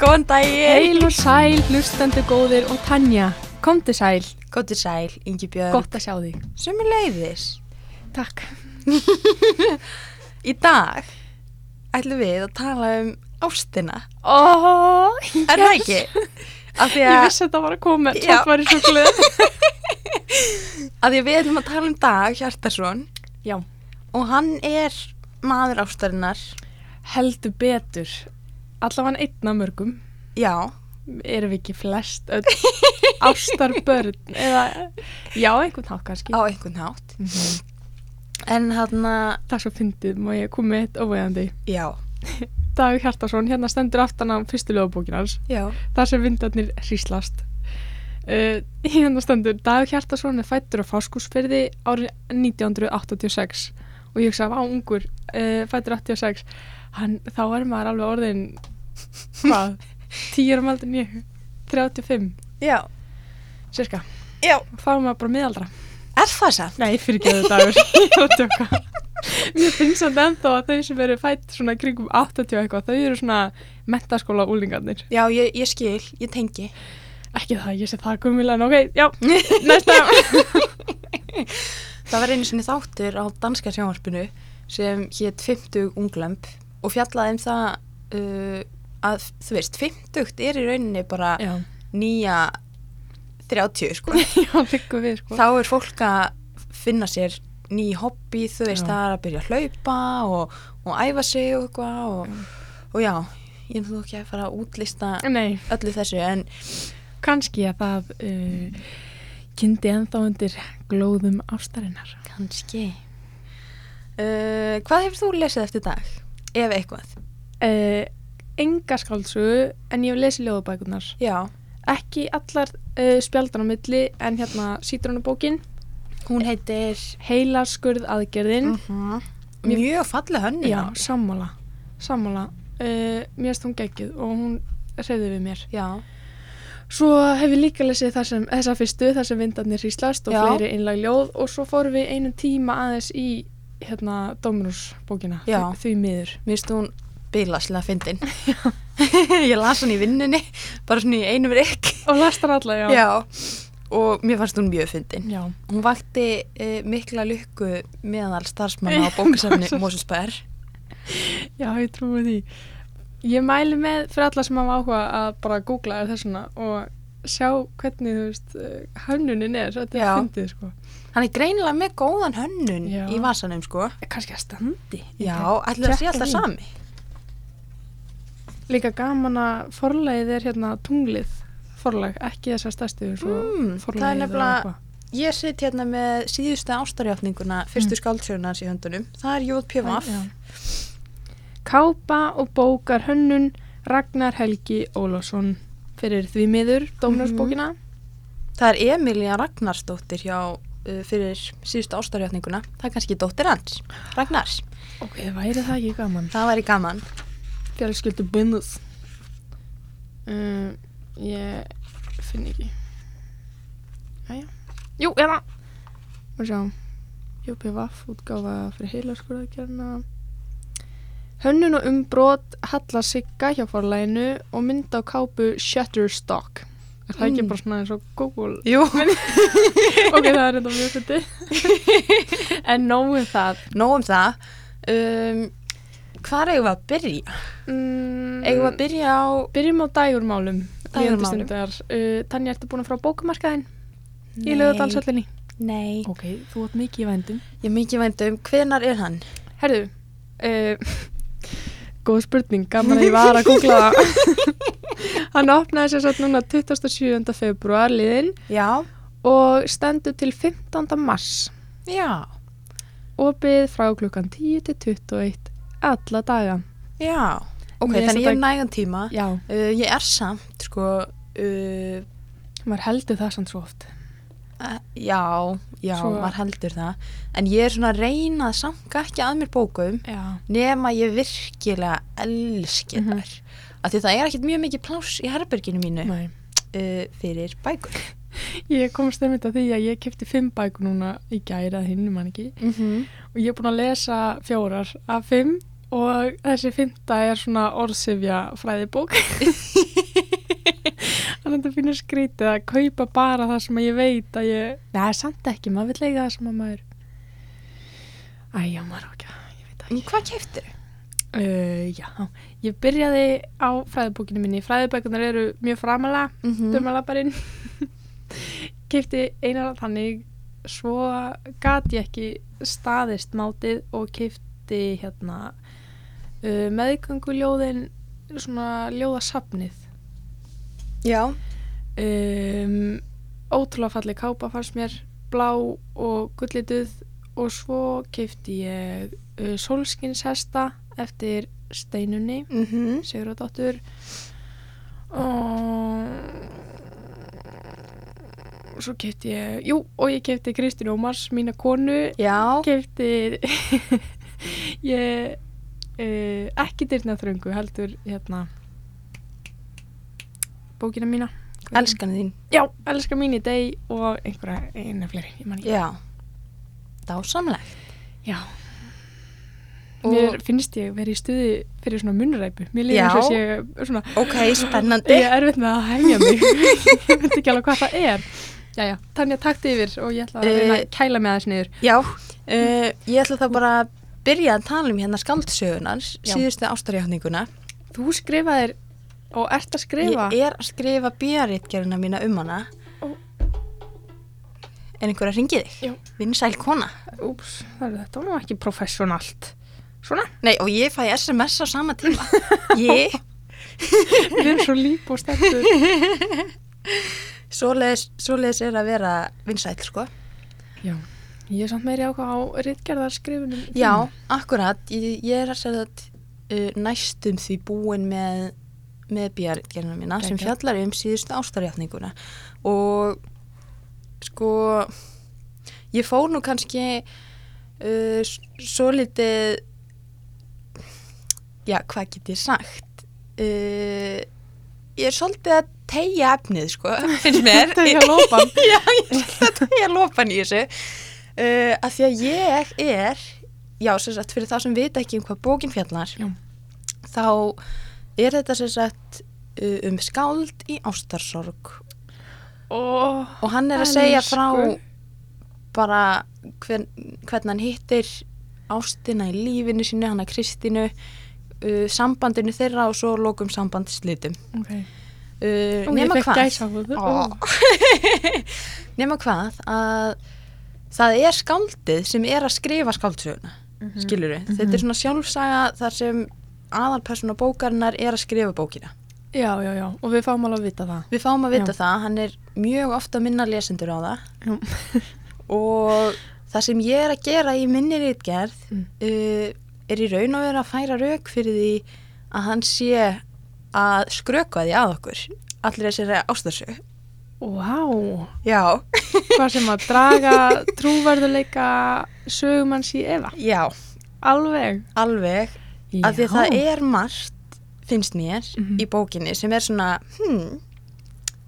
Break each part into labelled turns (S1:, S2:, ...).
S1: Góðan daginn!
S2: Heil og sæl, hlustandi góðir og Tanja, komdu sæl,
S1: Góttu sæl, Ingi Björn.
S2: gott að sjá þig.
S1: Sumi leiðis.
S2: Takk.
S1: Í dag ætlum við að tala um ástina.
S2: Ó,
S1: Er það ekki? Af því
S2: Ég
S1: að,
S2: vissi að þetta var að koma,
S1: Já.
S2: tótt var í svo glöð.
S1: af því að við ætlum að tala um Dag Hjartarsson
S2: Já,
S1: og hann er maður ástarinnar.
S2: heldur betur, allavega einn af mörgum,
S1: Já,
S2: erum við ekki flest öll ástarbörn, eða, já, einhvern þá kannski.
S1: á einhvern hátt.
S2: Mhm.
S1: En hann að,
S2: Það er svo fyndið, má ég koma með eitt óvegandi.
S1: já,
S2: Dagur Hjartarsson, hérna stendur aftan á fyrstu lögabókin hans.
S1: já,
S2: þar sem vindarnir hríslast. Uh, hérna stendur, Dag Hjartarsson er fættur á Fáskúsferði árið 1986 og ég hugsa, vá, ungur, uh, fættur 86, hann, þá er maður alveg orðin, hvað, 10 árum aldrei nýju, 35,
S1: já,
S2: cirka,
S1: já.
S2: þá er maður bara miðaldra.
S1: Er það satt?
S2: Nei, fyrir ekki þetta dagur, ég var að tjóka. Mér finnst þetta ennþá að þau sem eru fætt svona í kringum 80 eitthvað, þau eru svona mentaskóla úlingarnir.
S1: Já, ég, ég skil, ég tengi.
S2: Ekki það, ég sé það gummilega, ok, já, næsta.
S1: Það var einu sinni þáttur á danska sjónvarpinu sem hétt 50 unglömp og fjallaði um það uh, að þú veist, 50 er í rauninni bara
S2: já.
S1: nýja 30 sko.
S2: Já, liggum við sko.
S1: Þá er fólk að finna sér ný hobby, þú veist,
S2: Já.
S1: það er að byrja að hlaupa og, og æfa sig og eitthvað og, og já, ég er þú ekki að fara að útlista
S2: Nei,
S1: öllu þessu en
S2: kannski að það uh, kynnti ennþá undir glóðum ástarinnar.
S1: kannski. Uh, hvað hefur þú lesið eftir dag? Ef eitthvað.
S2: Uh, enga skáldsögu, en ég hef lesið ljóðabækurnar.
S1: Já,
S2: Ekki allar uh, spjaldan á milli, en hérna sítrónubókin,
S1: hún heitir...
S2: heilaskurð aðgerðin.
S1: -hmm.
S2: Mér-
S1: Mjög falleg hönnun
S2: Já,
S1: á henni.
S2: sammála, sammála. Uh, mér erst hún geggið og hún reyði við mér.
S1: Já,
S2: Svo hef ég líka lesið þar sem, þessa fyrstu, þar sem vindarnir hríslast og
S1: Já.
S2: fleiri einlag ljóð og svo fórum við einu tíma aðeins í hérna Dominus bókina,
S1: Já.
S2: því miður.
S1: mér finnst hún bilaslega fyndin Ég las hann í vinnunni bara svona í einum rygg
S2: Og lastar alla, já.
S1: og mér fannst hún mjög fyndin
S2: Já.
S1: Hún vakti uh, mikla lukku meðal starfsmanna á bókasafni Moselsbær
S2: Já, ég trúi því. Ég mæli með fyrir alla sem hafa áhuga að bara googla þessuna og sjá hvernig, þú veist, eh, hönnunin er, þetta er
S1: Já.
S2: fyndið, sko.
S1: Hann er greinilega með góðan hönnun
S2: Já.
S1: í vasanum sko
S2: Kanski að standi.
S1: Já, ætlaðu að sé
S2: Tékka
S1: alltaf
S2: því.
S1: sami
S2: Líka gaman að forlagið er hérna tunglið forlag, ekki þessar stærstu eins og
S1: Mm, það er
S2: forlagið og
S1: nefnilega-
S2: eitthvað.
S1: Ég sitt hérna með síðustu ástarjáfninguna fyrstu mm. skáldsjónans í höndunum Það er Jóð Pjöfaf
S2: Já. Kápa og bókar hönnun Ragnar Helgi Ólásson fyrir því miður dómnarsbókina
S1: Það er Emilía Ragnarsdóttir hjá uh, fyrir síðustu ástarjáttninguna. Það er kannski dóttir hans, Ragnars.
S2: Ok, væri það ekki gaman?
S1: Það væri gaman.
S2: Fjölskyldu bunnus um, Ég finn ekki Jæja Jú, hérna Má sjá JPVF útgáfa fyrir heilaskurðakjörna Hönnun og umbrot Halla Sigga hjá forlæginu og mynda á kápu Shutterstock Er það ekki
S1: Mm.
S2: bara svona eins og Google
S1: Jú.
S2: Ok, það er þetta mjög fyrir En nógu það
S1: Nó um það. Um, hvar eigum við að byrja?
S2: mm,
S1: Eigum við að byrja á...
S2: Byrjum á dægurmálum.
S1: Dægurmálum.
S2: Dægurmálum. Uh, Tanja, ertu búin að frá bókamarkaðin í
S1: Nei,
S2: lögadalsöllinni?
S1: Nei.
S2: Ok, þú átt mikið í vændum.
S1: Ég er mikið vænt um hvenar er hann?
S2: Herðu, uh, góð spurning, gaman að ég var að googla það. Hann opnaði sér satt núna 27. februar liðin
S1: Já.
S2: og stendur til 15. mars.
S1: Já.
S2: Opið frá klukkan 10 til 21 alla daga.
S1: Já. Ok,
S2: Mér finnst
S1: þannig ég
S2: þetta-
S1: er nægan tíma.
S2: Já,
S1: Uh, ég er samt, sko... Uh,
S2: maður heldur það samt svo oft.
S1: Eh, Já, já,
S2: Svo-
S1: maður heldur það En ég er svona að reyna að sanga ekki að mér bókum
S2: Já.
S1: nema ég virkilega elski
S2: Mhm.
S1: þær af því það er ekkert mjög mikið pláss í herberginu mínu
S2: Nei.
S1: uh, fyrir bækur
S2: Ég komst einmitt að því að ég kefti fimm bækur núna í gæri að hinn, mann ekki.
S1: mm -hmm.
S2: Og ég er búin að lesa fjórar af fimm og þessi fynda er svona orðsifja fræðibók þannig að þetta finnir skrítið að kaupa bara það sem ég veit að ég neða, samt ekki, maður vil eiga það sem að maður æja, maður á ekki að- ég veit það
S1: En Hvað keftir?
S2: ekki uh, já, ég byrjaði á fræðibókinu minni, fræðibækunar eru mjög framalega
S1: Mm
S2: dömma lapparinn keipti einar þannig svo gat ég ekki staðist mátið og keipti hérna uh, meðgönguljóðin svona ljóðasafnið
S1: Já,
S2: um, ótrúlega falleg kápa fannst mér blá og gullituð og svo keipti ég uh, sólskinshesta eftir steinunni
S1: mm
S2: Mhm. Sigurðardóttur og svo kefti ég jú, og ég kefti Kristín Ómars mína konu,
S1: já,
S2: kefti ég uh, ekki dyrna þröngu heldur hérna bókina mína Hvað heitir hún?
S1: elskan þín
S2: já, elska mín í deg og einhverja eina fleiri, ég man ekki
S1: Já, dásamlegt
S2: já,
S1: Og-
S2: mér finnst ég verið í stuði fyrir svona munræpu, mér líður
S1: Já.
S2: eins og ég sé svona
S1: Ok, spennandi
S2: Ég er erfitt með að hefja mig Ég veit ekki alveg hvað það er Jæja, Tanja takt yfir og ég ætla að
S1: Eh,
S2: reyna að kæla mig aðeins niður
S1: Já, uh, ég ætla þá bara að byrja að tala um hérna skaldsögunar
S2: Já.
S1: síðustu ástarjáfninguna
S2: Þú skrifaðir og ert að skrifa
S1: Ég er að skrifa bíaritgerina mína um hana
S2: Ó.
S1: Er einhver að ringi þig?
S2: Já.
S1: Vinn sæl kona
S2: Úps, það er þetta var nú ekki professionalt Svona,
S1: Nei, og ég fæ SMS á sama tíma Ég,
S2: við erum svo líp og sterkur
S1: svoleiðis, svoleiðis er að vera vinn sæl, sko
S2: Já, ég er samt meiri áhuga á ritgerðarskrifunum
S1: Já, Mm. akkurat, ég, ég er að segja þetta uh, næstum því búin með, með bjargerina mína sem
S2: Geggjað.
S1: fjallar um síðustu ástarjátninguna og sko, ég fór nú kannski uh, s- svolítið, já, hvað get ég sagt? Uh, ég er svolítið að tegja efnið, sko, finnst mér.
S2: Teygja lopann.
S1: já, ég er svolítið að tegja lopan í þessu. Uh, að því að ég er, já, sem sagt, fyrir þá sem vita ekki um hvað bókin fjallar,
S2: Já.
S1: þá er þetta sem sagt uh, um skáld í ástarsorg
S2: Ó,
S1: og hann er að segja frá
S2: Elsku.
S1: bara hvern, hvern hann hittir ástina í lífinu sínu, hann að Kristínu, uh, sambandinu þeirra og svo lókum sambandslitum.
S2: ok
S1: Uh,
S2: Ó, Ég
S1: nema
S2: fekk
S1: hvað?
S2: gæsa á það
S1: Ó. nema hvað að það er skáldið sem er að skrifa skáldsöguna
S2: Mhm.
S1: mm -hmm. skilur við, þetta er svona sjálfsaga þar sem aðalpersona bókarinnar er að skrifa bókina
S2: Já, já, já, og við fáum alveg að vita það
S1: við fáum að vita
S2: Já.
S1: það, hann er mjög ofta minna lesendur á það
S2: Já,
S1: og það sem ég er að gera í minni rítgerð
S2: Mm.
S1: uh, er í raun og vera að færa rauk fyrir því að hann sé að skrökva því að okkur allir þessir ástarsög
S2: Vá.
S1: já,
S2: hvað sem að draga trúverðuleika sögumanns í efa
S1: já,
S2: alveg
S1: alveg að því að það er margt finnst mér
S2: Mhm.
S1: í bókinni sem er svona hmm,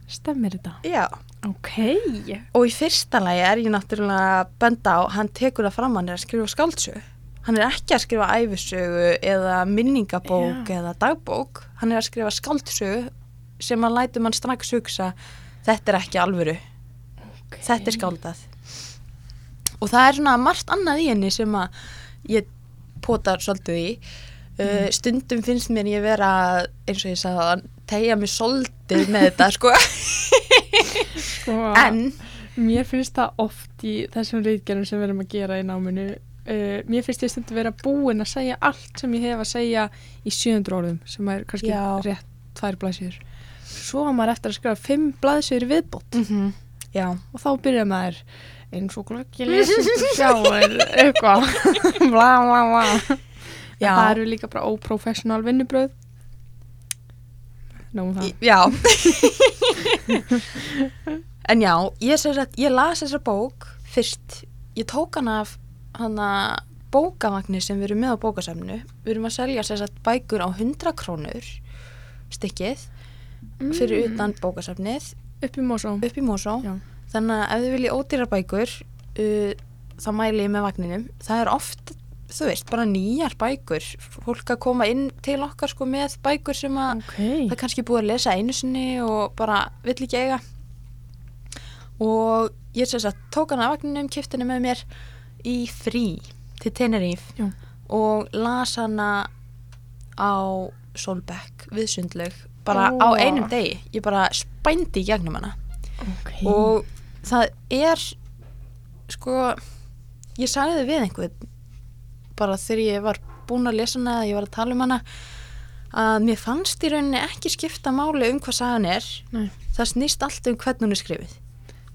S2: stemmir þetta
S1: já
S2: ok
S1: og í fyrsta lagi er ég náttúrulega að benda á, hann tekur það fram að hann er að skrifa skáldsögu hann er ekki að skrifa æfisögu eða minningabók eða dagbók hann er að skrifa skáldsögu sem að lætur mann strax hugsa þetta er ekki alvöru, þetta er skáldað og það er svona margt annað í henni sem að ég potar svolítið í Uh, stundum finnst mér ég vera eins og ég sagði að tegja mig svolítið með þetta sko
S2: sko,
S1: en
S2: mér finnst það oft í þessum reitgerum sem við erum að gera í náminu uh, mér finnst ég stundu vera búin að segja allt sem ég hef að segja í 700 orðum sem er kannski
S1: Já.
S2: rétt tvær blaðsýður svo á maður eftir að skrifa fimm blaðsýður viðbót
S1: já,
S2: og þá byrja maður eins og glöggi lesist og sjáir eitthvað bla bla bla En
S1: Já.
S2: það eru líka bara óprofessional vinnubröð Nóum það
S1: í- já en já, ég sér að ég las þessa bók fyrst ég tók hana af hana bókavagni sem við erum með á bókasamnu við erum að selja sér að bækur á 100 krónur stykkið fyrir utan bókasafnið
S2: Mm. upp í mósó
S1: upp í Mosó
S2: Mm. Já.
S1: þannig að ef þið viljið ódýra bækur uh, þá mæli ég með vagninum það er oft þú veist, bara nýjar bækur fólk að koma inn til okkar sko með bækur sem að það er kannski búið að lesa einu sinni og bara vill ekki eiga og ég sem sagt tók hann af vagninum, kipti hann með mér í frí til Teneríf
S2: Já.
S1: og las hana á Solbeck við Sundlaug bara á
S2: Ó.
S1: einum degi, ég bara spændi í gegnum hana
S2: ok.
S1: og það er sko ég sagði við einhvern bara þegar ég var búin að lesa hana eða ég var að tala um hana að mér fannst í rauninni ekki skipta máli um hvað sagan er
S2: Nei.
S1: það snýst allt um hvern hún er skrifið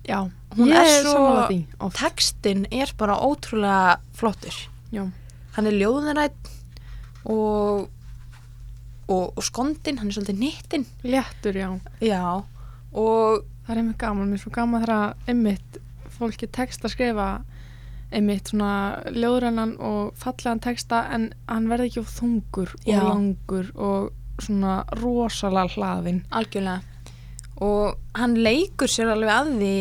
S2: Já,
S1: hún
S2: ég
S1: er
S2: er
S1: svo-
S2: sammála því oft.
S1: textin er bara ótrúlega flottur
S2: Já,
S1: hann er ljóðunrætt og, og, og skondin, hann er svolítið nýttin
S2: léttur, já.
S1: já og
S2: Það er einmitt gaman, mér er svo gaman þegar að einmitt fólki text að skrifa einmitt svona ljóðrannan og fallegan texta en hann verði ekki of þungur og
S1: Já.
S2: langur og svona rosalega hlaðinn.
S1: algjörlega og hann leikur sér alveg að því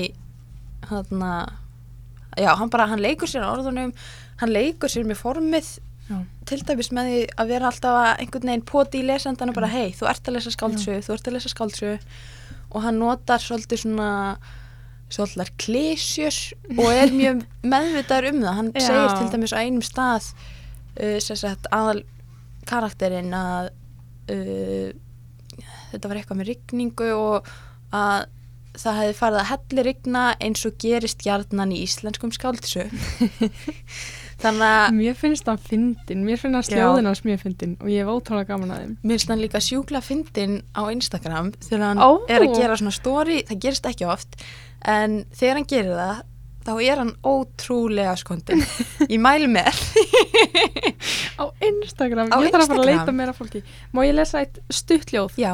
S1: hann já, hann bara, hann leikur sér að orðunum hann leikur sér með formið
S2: Já.
S1: til dæmis með því að vera alltaf að einhvern veginn poti í lesandan og bara hei, þú ert að lesa skáldsögu, þú ert að lesa skáldsögu og hann notar svolítið svona svolítið klísjur og er mjög meðvitaður um það hann
S2: Já.
S1: segir til dæmis á einum stað uh, sem sagt aðal karakterinn að uh, þetta var eitthvað með rigningu og að það hefði farið að hellirigna eins og gerist hjarnan í íslenskum skáldsögu þannig að
S2: Mér finnst það fyndin, mér finnst
S1: Já.
S2: ljóðin hans mjög fyndin og ég hef ótrúlega gaman að þeim.
S1: Mér finnst hann líka sjúkla fyndin á Instagram þegar hann
S2: Ó.
S1: er að gera svona story, það gerist ekki oft, en þegar hann gerir það, þá er hann ótrúlega skondin. Ég mæli mér.
S2: Á Instagram,
S1: Á
S2: ég þarf að fara að
S1: Instagram.
S2: leita meira að fólki. Má ég lesa eitt stutt ljóð?
S1: Já,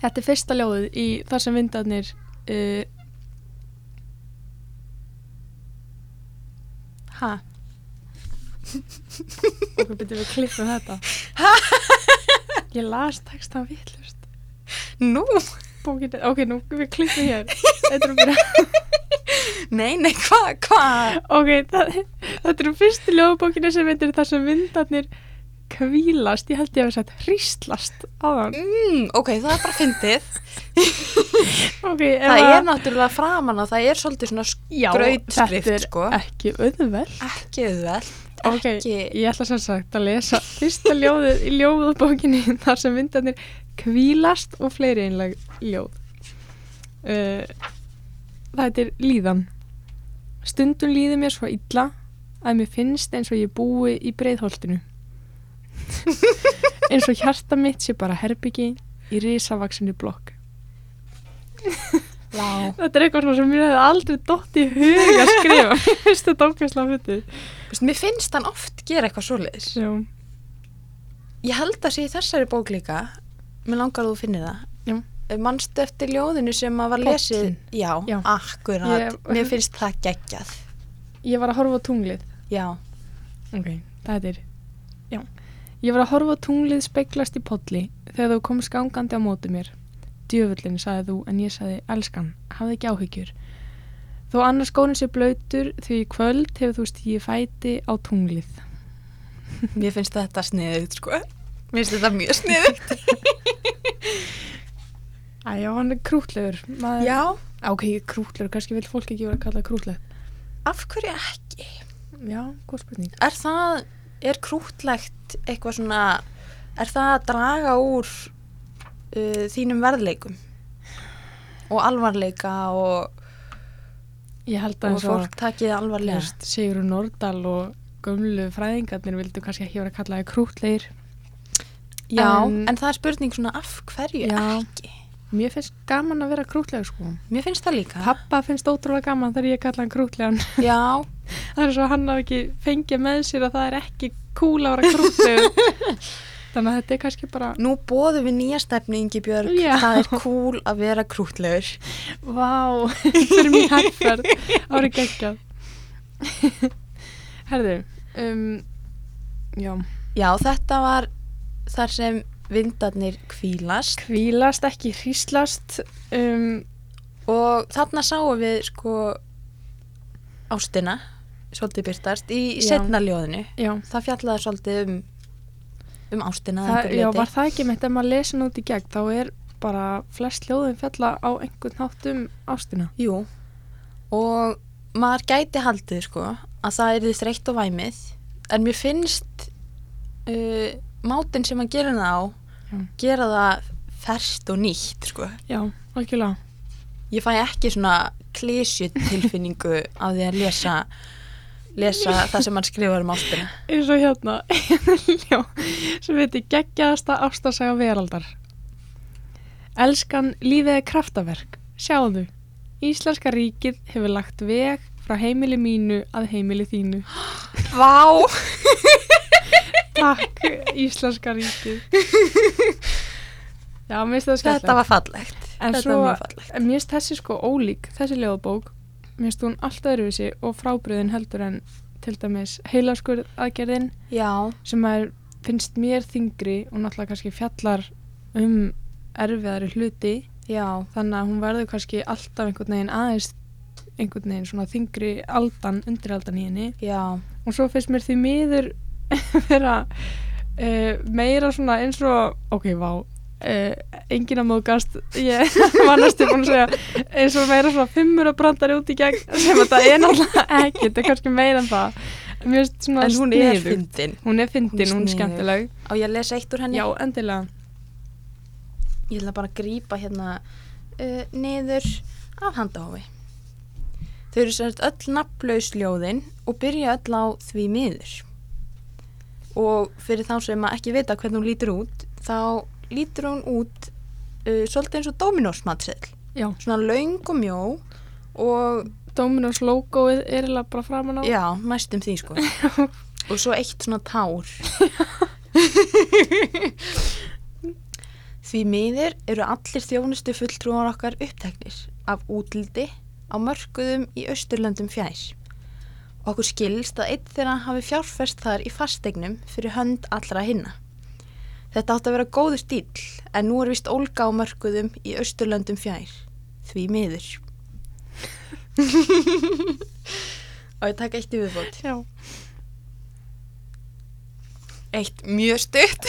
S2: Þetta er fyrsta ljóðið í þar sem vindarnir uh,
S1: ha?
S2: og hvað byrjum við klippum þetta ég las textan vittlust
S1: Nú?
S2: Bókin, ok, nú við klippum hér þetta eru bara
S1: Nei, nei, hvað, hvað?
S2: ok, það, þetta eru fyrstu ljóðbókina sem veitir þar sem vindarnir kvílast, ég held ég að við sagt hríslast áðan
S1: Mm, ok, það er bara fyndið.
S2: okay, ef
S1: Það
S2: að-
S1: er náttúrulega framan og það er svolítið svona
S2: Já,
S1: skrautskrift,
S2: þetta er
S1: sko.
S2: ekki auðveld
S1: Ekki auðveld.
S2: ok,
S1: Ekki-
S2: ég ætla sem sagt að lesa fyrsta ljóðið í ljóðbókinni þar sem vindarnir kvílast og fleiri einleg ljóð uh, það heitir líðan stundum líður mér svo illa að mér finnst eins og ég búi í breiðholtinu eins og hjarta mitt sé bara herbyggi í risavaksinu blokk
S1: Vá.
S2: þetta er eitthvað svona sem mér hefði aldrei dótt í hug að skrifa mér finnst þetta ókvæmstlega fyndið
S1: Vist, mér finnst hann oft gera eitthvað svoleiðis.
S2: já,
S1: Ég held að sé í þessari bók líka Mér langar að þú finnir það
S2: Já.
S1: Eh, Manstu eftir ljóðinu sem að var
S2: Pollinn.
S1: lesið Já,
S2: Já.
S1: akkurat
S2: Ég-
S1: Mér finnst það geggjað
S2: ég var að horfa á tunglið
S1: Já,
S2: Ok, það er, já. Ég var að horfa á tunglið speiklast í podli þegar þú komst gangandi á móti mér. Djöfullin, sagði þú, en ég sagði, elskan, hafði ekki áhyggjur. Þó annars skórin sé blöytur því í kvöld hefur þú stíði fæti á tunglið.
S1: mér finnst þetta sniðugt sko Mér finnst þetta mjög sniðugt
S2: Æjá, hann er krútlegur. Maður...
S1: Já,
S2: Á, Ok, krútlegur, kannski vil fólk ekki vera að kalla krútleg.
S1: af hverju ekki?
S2: Já, góð spurning.
S1: Er það, er krútlegt eitthvað svona Er það að draga úr uh, þínum verðleikum? Og alvarleika og,
S2: Ég held að
S1: og fólk takið alvarlega
S2: Sigurður Nordal og gömlu fræðingarnir vildu kannski ekki vera að kalla það krútlegir.
S1: Já,
S2: En-
S1: en, það er spurning svona af hverju
S2: Já.
S1: ekki.
S2: Mér finnst gaman að vera krútlegur sko.
S1: Mér finnst það líka.
S2: Pappa finnst ótrúlega gaman þegar ég kalla hann krútlegan.
S1: Já,
S2: Það er svo að hann hafi ekki fengið með sér að það er ekki cool að vera krútlegur. Þannig að þetta er kannski bara,
S1: nú bóðum við nýja stefni Ingi Björg.
S2: Já.
S1: Það er cool að vera krútlegur.
S2: vá, fyrir mér hægferð, árið geggjað. Herðu, um, já,
S1: Já, þetta var þar sem vindarnir kvílast
S2: kvílast, ekki hríslast, um,
S1: og þarna sáum við sko ástina svolítið byrtast í
S2: Já.
S1: setna ljóðinu
S2: já,
S1: það fjallaði svolítið um um ástina að
S2: það,
S1: einhverju
S2: já
S1: leyti.
S2: var það ekki mitt ef maður lesi nút í gegn þá er bara flest hljóðin fjalla á einhvern hátt um ástina
S1: Jú, og maður gæti haldið sko að það er því þreytt og væmið en mér finnst uh, mátin sem maður gerir það á
S2: Já.
S1: gera það ferskt og nýtt sko.
S2: já, algjörlega
S1: Ég fæ ekki svona klísju tilfinningu af því að lesa lesa það sem maður skrifar um ástina.
S2: eins og hérna já, sem veitir geggjaðasta ástasaga veraldar Elskan lífið er kraftaverk sjáðu, Íslenska ríkið hefur lagt veg frá heimili mínu að heimili þínu
S1: Vá!
S2: takk Íslenska ríkið já, mér finnst það skemmtilegt
S1: Þetta var fallegt.
S2: En
S1: Þetta
S2: svo-
S1: var mjög fallegt.
S2: En mér finnst þessi sko ólík, þessi ljóðbók, mér finnst hún alltaf öðruvísi og frábriðin heldur en til dæmis heilaskur aðgerðin
S1: Já,
S2: sem er, finnst mér þingri og náttúrulega kannski fjallar um erfiðari hluti
S1: já,
S2: þannig að hún verður kannski alltaf einhvern veginn aðeins einhvern veginn svona þingri aldan, undiraldan í henni
S1: já.
S2: og svo finnst mér því miður vera uh, meira svona eins og ok, vá uh, enginn að móðgast ég var næstu búin að segja eins og meira svona fimmur að brandari út í gegn sem þetta er náttúrulega ekki þetta er kannski meira en það Mér finnst svona
S1: En hún er
S2: sniðugt.
S1: fyndin.
S2: hún er fyndin,
S1: Hún er
S2: hún er
S1: sniðug.
S2: skemmtileg
S1: Á ég að lesa eitt úr henni?
S2: já, endilega
S1: Ég ætla bara að grípa hérna uh, niður af handahófi. Þau eru sem sagt öll nafnlaus ljóðin og byrja öll á því miður. Og fyrir þá sem að ekki vita hvernig hún lítur út, þá lítur hún út uh, svolítið eins og dominósmatseðl.
S2: já.
S1: Svona laung og mjó og
S2: Dominos logoið er eiginlega bara framan á
S1: já, mæstum því sko. og svo eitt svona tár. Því miður eru allir þjónustu fulltrúar okkar uppteknir af útliti á mörkuðum í austurlöndum fjær. Okkur skilst að einn þeirra hafi fjárfest þar í fastegnum fyrir hönd allra hinna. Þetta átti að vera góðu stíl en nú er vist ólga á mörkuðum í austurlöndum fjær. Því miður. Og ég taka eitt í viðbót.
S2: já.
S1: Eitt mjög stutt.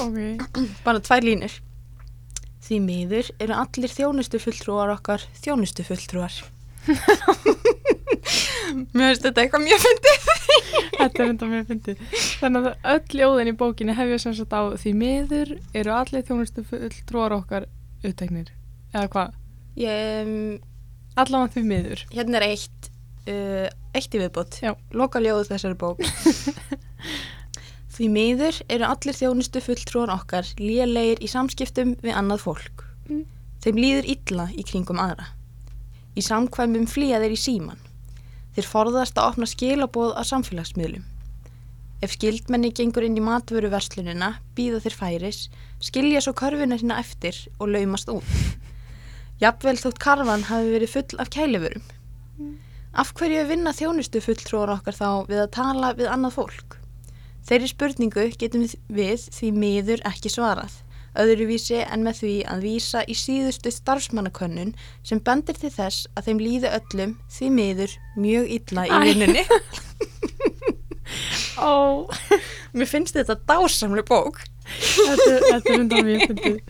S2: ok
S1: Bara tvær línur. Því miður eru allir þjónustu fulltrúar okkar þjónustu fulltrúar. Mér finnst þetta eitthvað mjög fyndið.
S2: Þetta er enda mér fyndið. Þannig að öll ljóðin í bókinni hefja sem sagt á því miður eru allir þjónustu fulltrúar okkar uppteknir. Eða hvað?
S1: Ég, um,
S2: Allan því miður.
S1: hérna er eitt, uh, eitt í viðbót.
S2: Já.
S1: Loka ljóðu þessari bók. Því miður eru allir þjónustu fulltrúar okkar lélegir í samskiptum við annað fólk.
S2: Mm.
S1: Þeim líður illa í kringum aðra. Í samkvæmum flýja þeir í síman. Þeir forðast að opna skilaboð á samfélagsmiðlum. Ef skildmenni gengur inn í matvöruverslunina, býða þeir færis, skilja svo körfuna sína eftir og laumast út. Jafnvel þótt karfan hafi verið full af kælifurum. Af hverju vinna þjónustu fulltrúar okkar þá við að tala við annað fólk? Þeirri spurningu getum við því miður ekki svarað, öðruvísi en með því að vísa í síðustu starfsmannakönnun sem bendir til þess að þeim líði öllum því miður mjög illa í
S2: Æ.
S1: vinnunni.
S2: Ó,
S1: Mér finnst þetta dásamlu bók.
S2: þetta, er- þetta er enda mér fyndið.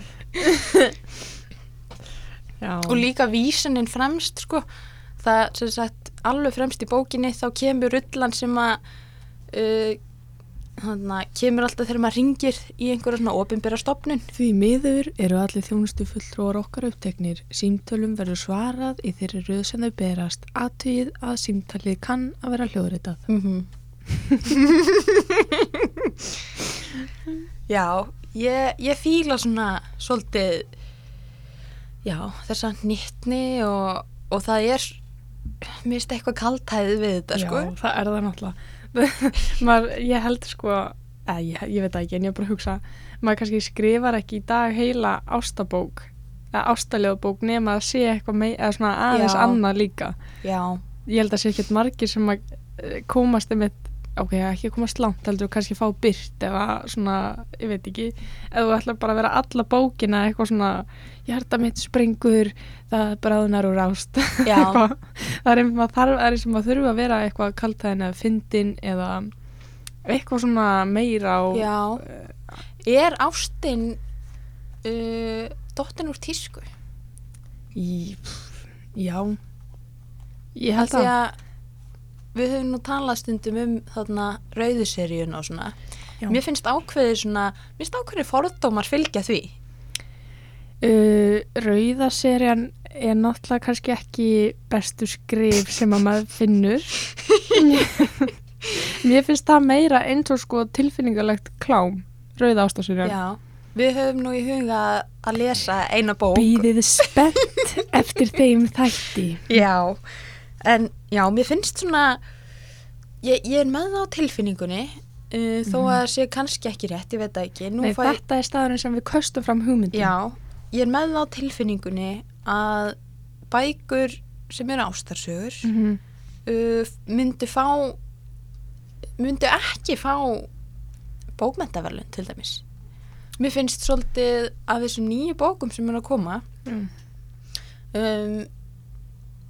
S2: Já.
S1: Og líka vísunin fremst, sko, það sem sagt alveg fremst í bókinni þá kemur rullan sem að, uh, hana, kemur alltaf þegar maður ringir í einhverja svona opinbera stopnun.
S2: Því miður eru allir þjónustu fulltrúar okkar uppteknir. Símtölum verður svarað í þeirri röð sem þau berast. Atvið að símtalið kann að vera hljóðritað.
S1: Mm já, ég, ég fíla svona svolítið, já, þessa nýttni og, og það er, mér finnst eitthvað kaltæðið við þetta, sko.
S2: Já, það er það náttúrulega. maður, ég held sko, eða, ég, ég veit það ekki, en ég er bara að hugsa, maður kannski skrifar ekki í dag heila ástabók, eða ástaljóðbók nema að sé eitthvað mei, eða svona aðeins
S1: Já.
S2: annað líka.
S1: Já,
S2: Ég held að sé ekkert margir sem að eh, komast einmitt ok, ekki að komast langt heldur og kannski fá byrt eða svona, ég veit ekki eða þú ætlar bara að vera alla bókina eitthvað svona, hjarta mitt springur það bráðnar og rást
S1: Já.
S2: Eitthvað. það er einhver maður þarf það er eins og maður þurfi að vera eitthvað kaltæðin eða fyndin eða eitthvað svona meira og
S1: Já, eh, er ástin uh, dottin úr tísku?
S2: í, pff, já ég held
S1: Því
S2: að
S1: að við höfum nú talað stundum um þarna rauðuseríun og svona.
S2: Já.
S1: Mér finnst ákveðið svona, mér finnst ákveðið fordómar fylgja því.
S2: Uh, rauða serían er náttúrulega kannski ekki bestu skrif sem að maður finnur mér finnst það meira eins og sko tilfinningalegt klám rauða ástaserían
S1: Já, við höfum nú í huga að lesa eina bók.
S2: býðið spennt eftir þeim þætti
S1: Já, en já, mér finnst svona, ég, ég er með það á tilfinningunni, uh, þó að það sé kannski ekki rétt, ég veit það ekki. Nú
S2: Mhm. Nei,
S1: fæ-
S2: þetta er staðurinn sem við köstum fram hugmyndum
S1: Já, ég er með það á tilfinningunni að bækur sem eru ástarsögur
S2: Mhm.
S1: uh, myndu fá myndu ekki fá bókmentaverlun til dæmis mér finnst svolítið að þessum nýju bókum sem eru að koma
S2: Mm.
S1: um,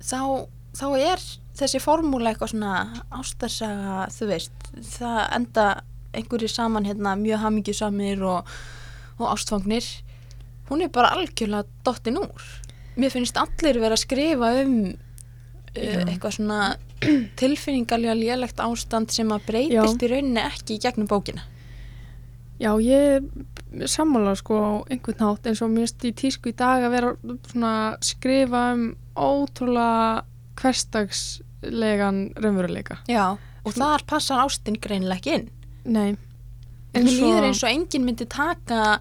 S1: þá, þá er þessi formúla eitthvað svona ástarsaga, þú veist það enda einhverju saman hérna, mjög hamingjusamir og, og ástfangnir hún er bara algjörlega dottin úr mér finnst allir vera að skrifa um
S2: Já.
S1: uh, eitthvað svona tilfinningalega lélegt ástand sem að breytist í rauninni ekki í gegnum bókina
S2: Já, ég er sammála sko á einhvern nátt eins og mér finnst í tísku í dag að vera svona að skrifa um ótrúlega hverstagslegan raunveruleika.
S1: Já. og þar passar ástin greinilega ekki inn
S2: Nei.
S1: Mér líður eins og enginn myndi taka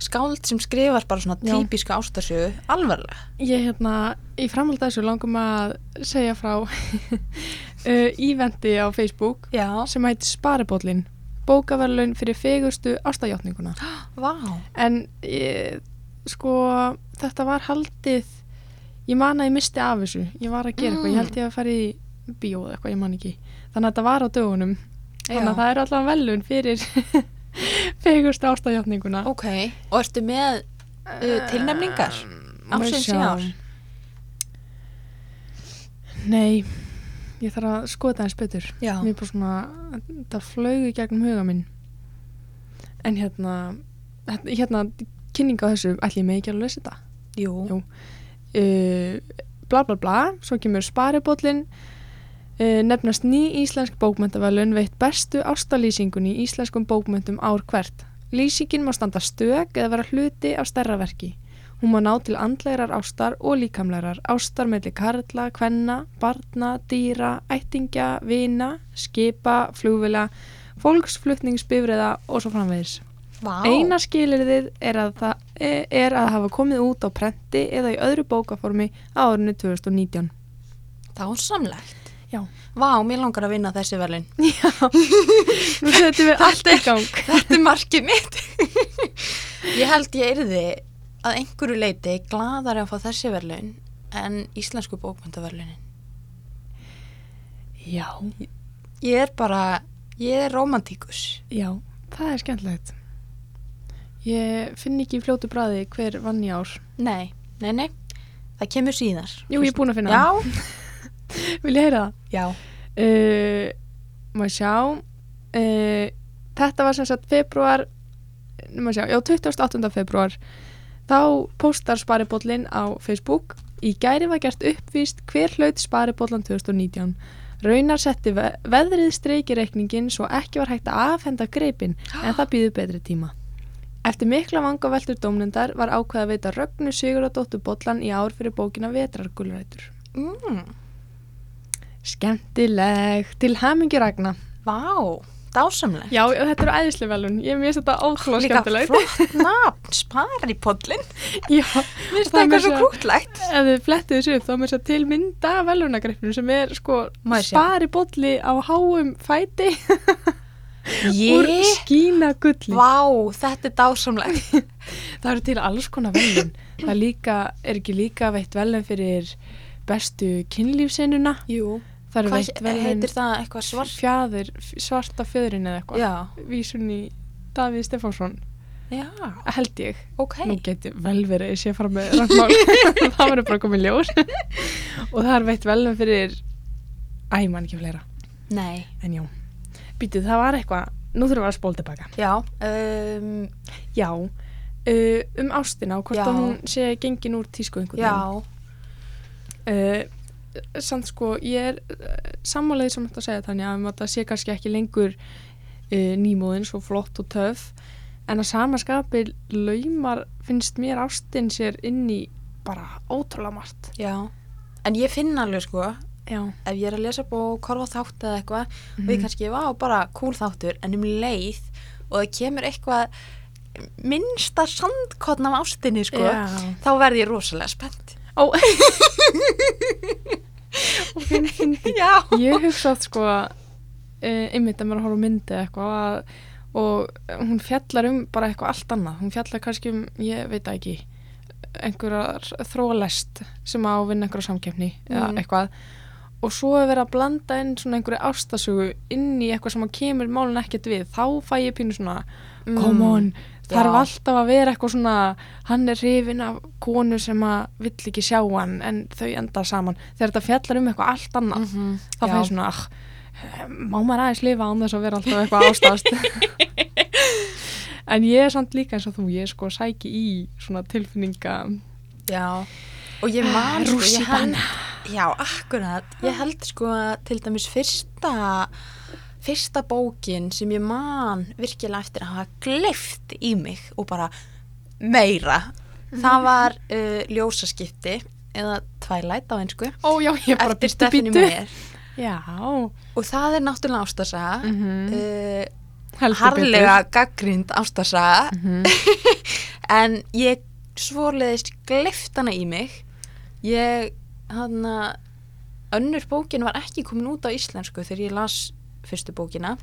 S1: skáld sem skrifar bara svona
S2: Já.
S1: típiska ástarsögu alvarlega
S2: Ég hérna, í framhald þessu langum að segja frá uh, íventi á Facebook
S1: Já,
S2: sem hætti Sparibóllin, bókaverlun fyrir fegurstu ástajátninguna.
S1: vá
S2: En ég, sko, þetta var haldið, ég man að ég misti af þessu, ég var að gera eitthvað, ég held ég að fara í bíó eða eitthvað, ég man ekki. Þannig að þetta var á dögunum, þannig
S1: Já.
S2: að það er allan velun fyrir fegurstu ástajátninguna.
S1: Ok, og ertu með uh, tilnefningar?
S2: Ehm,
S1: Ársins í ár?
S2: Nei, ég þarf að skoða það eins betur.
S1: Já,
S2: Mér er bara svona, þetta flög í gegnum huga minn. En hérna, hérna, hérna kynning á þessu, ætlum ég mig ekki að lesa þetta.
S1: jú,
S2: Jú. uh, bla bla bla, svo kemur sparibóllin uh, nefnast ný íslensk bókmentavalun veitt bestu ástalýsingunni í íslenskum bókmentum ár hvert. Lýsingin má standa stök eða vera hluti af stærra verki. Hún má ná til andlegarar ástar og líkamlegarar ástar melli karla, kvenna, barna, dýra, ættingja, vina, skipa, flugvila, fólksflutningsbifriða og svo framvegis.
S1: vá
S2: Eina skilirðið er að, það, e, er að hafa komið út á prenti eða í öðru bókaformi á árinu 2019.
S1: Það er samlegt
S2: Já.
S1: Vá, mér langar að vinna þessi velin
S2: Nú setjum við allt í gang.
S1: Þetta er markið mitt Ég held ég yrði að einhverju leiti gladari að fá þessi verðlaun en íslensku bókmyndaverðlaunin.
S2: Já.
S1: Ég er bara, ég er romantíkus.
S2: Já, það er skemmtilegt. Ég finn ekki í fljótu bræði hver vann í ár.
S1: Nei, nei, nei, það kemur síðar.
S2: Jú, ég er búin að finna það.
S1: Já,
S2: Vil ég heyra það?
S1: já,
S2: Uh, maður sjá. Uh, þetta var sem sagt februar, maður sjá, já, 28. februar. Þá postar sparibóllin á Facebook. Í gæri var gert uppvíst hver hlaut sparibóllan 2019. Raunar setti ve veðrið streikireikningin svo ekki var hægt að afhenda greipin en það býður betri tíma. Eftir mikla vanga veldur dómnendar var ákveð að veita Rögnu Sigurðardóttur bollan í ár fyrir bókina Vetrargulrætur.
S1: mm,
S2: Skemmtileg til hamingi Ragnar.
S1: vá, dásamleg.
S2: Já, þetta eru æðislega velun. Ég mér finnst þetta ótrúlega
S1: Líka
S2: skemmtilegt.
S1: flott nafn, spari pollin.
S2: Já,
S1: Mér finnst
S2: það er meira
S1: eitthvað svo
S2: að-
S1: krútlegt.
S2: ef þið flettið þessu upp þá er mér þess að til mynda velunagreifnum sem er sko
S1: Maður sjá.
S2: spari bolli á háum fæti úr
S1: Ég,
S2: skína gulli.
S1: vá, þetta er dásamleg.
S2: Það eru til alls konar velun. Það er líka, er ekki líka veitt velun fyrir bestu kynlífsinnuna.
S1: Jú,
S2: Það það eru
S1: Hvað
S2: veitt vel
S1: heitir það eitthvað svart?
S2: fjaður, svarta fjöðurinn eða eitthvað
S1: Já,
S2: vísun í Davíð Stefánsson
S1: já,
S2: held ég
S1: ok.
S2: Nú geti vel verið að sé fara með rangmál það verður bara komið ljós og það er veitt vel fyrir æ, mann ekki fleira
S1: Nei,
S2: en já, býtið það var eitthvað nú þurfum við að spóla tilbaka
S1: já, um,
S2: já, uh, um ástina og hvort
S1: Já.
S2: að hún sé gengin úr tísku einhvern
S1: já,
S2: veginn. uh, samt sko ég er uh, sammálaðið sem þetta að segja þannig að það sé kannski ekki lengur uh, nýmóðin svo flott og töf en að sama skapi laumar finnst mér ástin sér inn í bara ótrúlega margt
S1: já. En ég finn alveg sko,
S2: já,
S1: ef ég er að lesa bók, horfa á þátt eða eitthvað, og ég
S2: Mhm.
S1: kannski var bara cool þáttur, en um leið og það kemur eitthvað minnsta sandkotn af ástinni sko,
S2: Já.
S1: þá verð ég rosalega spennt.
S2: Ó Og finn- fyndi.
S1: Já.
S2: Ég hugsa að sko uh, einmitt að maður horfa á myndi eða eitthvað að, og hún fjallar um bara eitthvað allt annað, hún fjallar kannski um ég veit það ekki einhverja þróalest sem á að vinna einhverja samkeppni eða
S1: Mm.
S2: eitthvað og svo er verið að blanda inn svona einhverju ástasögu inn í eitthvað sem að kemur málun ekkert við, þá fæ ég pínu svona come on, þarf
S1: Mm. Já.
S2: alltaf að vera eitthvað svona, hann er hrifin af konu sem að vill ekki sjá hann en þau enda saman, þegar þetta fjallar um eitthvað allt annað,
S1: -hmm.
S2: þá fæði ég svona, ah, má maður aðeins lifa án þess að vera alltaf eitthvað ástast en ég er samt líka eins og þú, ég sko sæki í svona tilfinninga
S1: Já, og ég man sko, ég
S2: Rússíbana.
S1: held, já, akkurat, ég held sko að til dæmis fyrsta, fyrsta bókin sem ég man virkilega eftir að hafa gleift í mig og bara meira,
S2: Mhm.
S1: það var uh, ljósaskipti eða Twilight á einsku,
S2: ó já, ég bara
S1: eftir
S2: býttu
S1: Stephanie
S2: býttu
S1: Meyer
S2: já,
S1: og það er náttúrulega ástasaga, mm
S2: Mhm.
S1: uh, harlega gaggrind ástasaga
S2: Mhm.
S1: en ég svoleiðist gleift hana í mig ég hann önnur bókin var ekki komin út á íslensku þegar ég las fyrstu bókina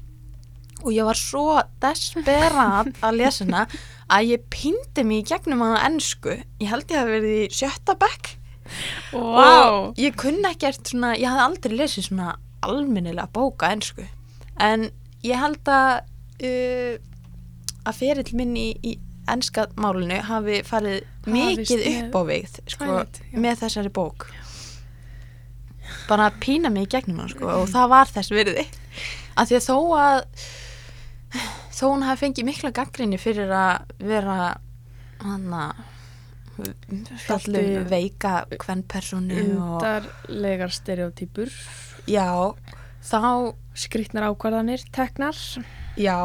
S1: og ég var svo desperat að lesa hana að ég pindi mig í gegnum hana á ensku ég held ég hafi verið í sjötta bekk
S2: wow.
S1: og ég kunna ekkert svona, ég hafði aldrei lesið svona almennilega bóka ensku en ég held að uh, að ferill minn í, í enska málinu hafi farið
S2: Hafist
S1: mikið
S2: með
S1: upp á við sko,
S2: Twilight, já.
S1: með þessari bók bara að pína mig í gegnum hann sko, og það var þess virði af því að þó að þó hún hafi fengið mikla gaggrinni fyrir að vera hann að fjallu
S2: Svolítið-
S1: veika hvern personu
S2: Mm,
S1: og
S2: undarlegar stereotypur
S1: já, þá
S2: skrittnar ákvarðanir, teknar
S1: já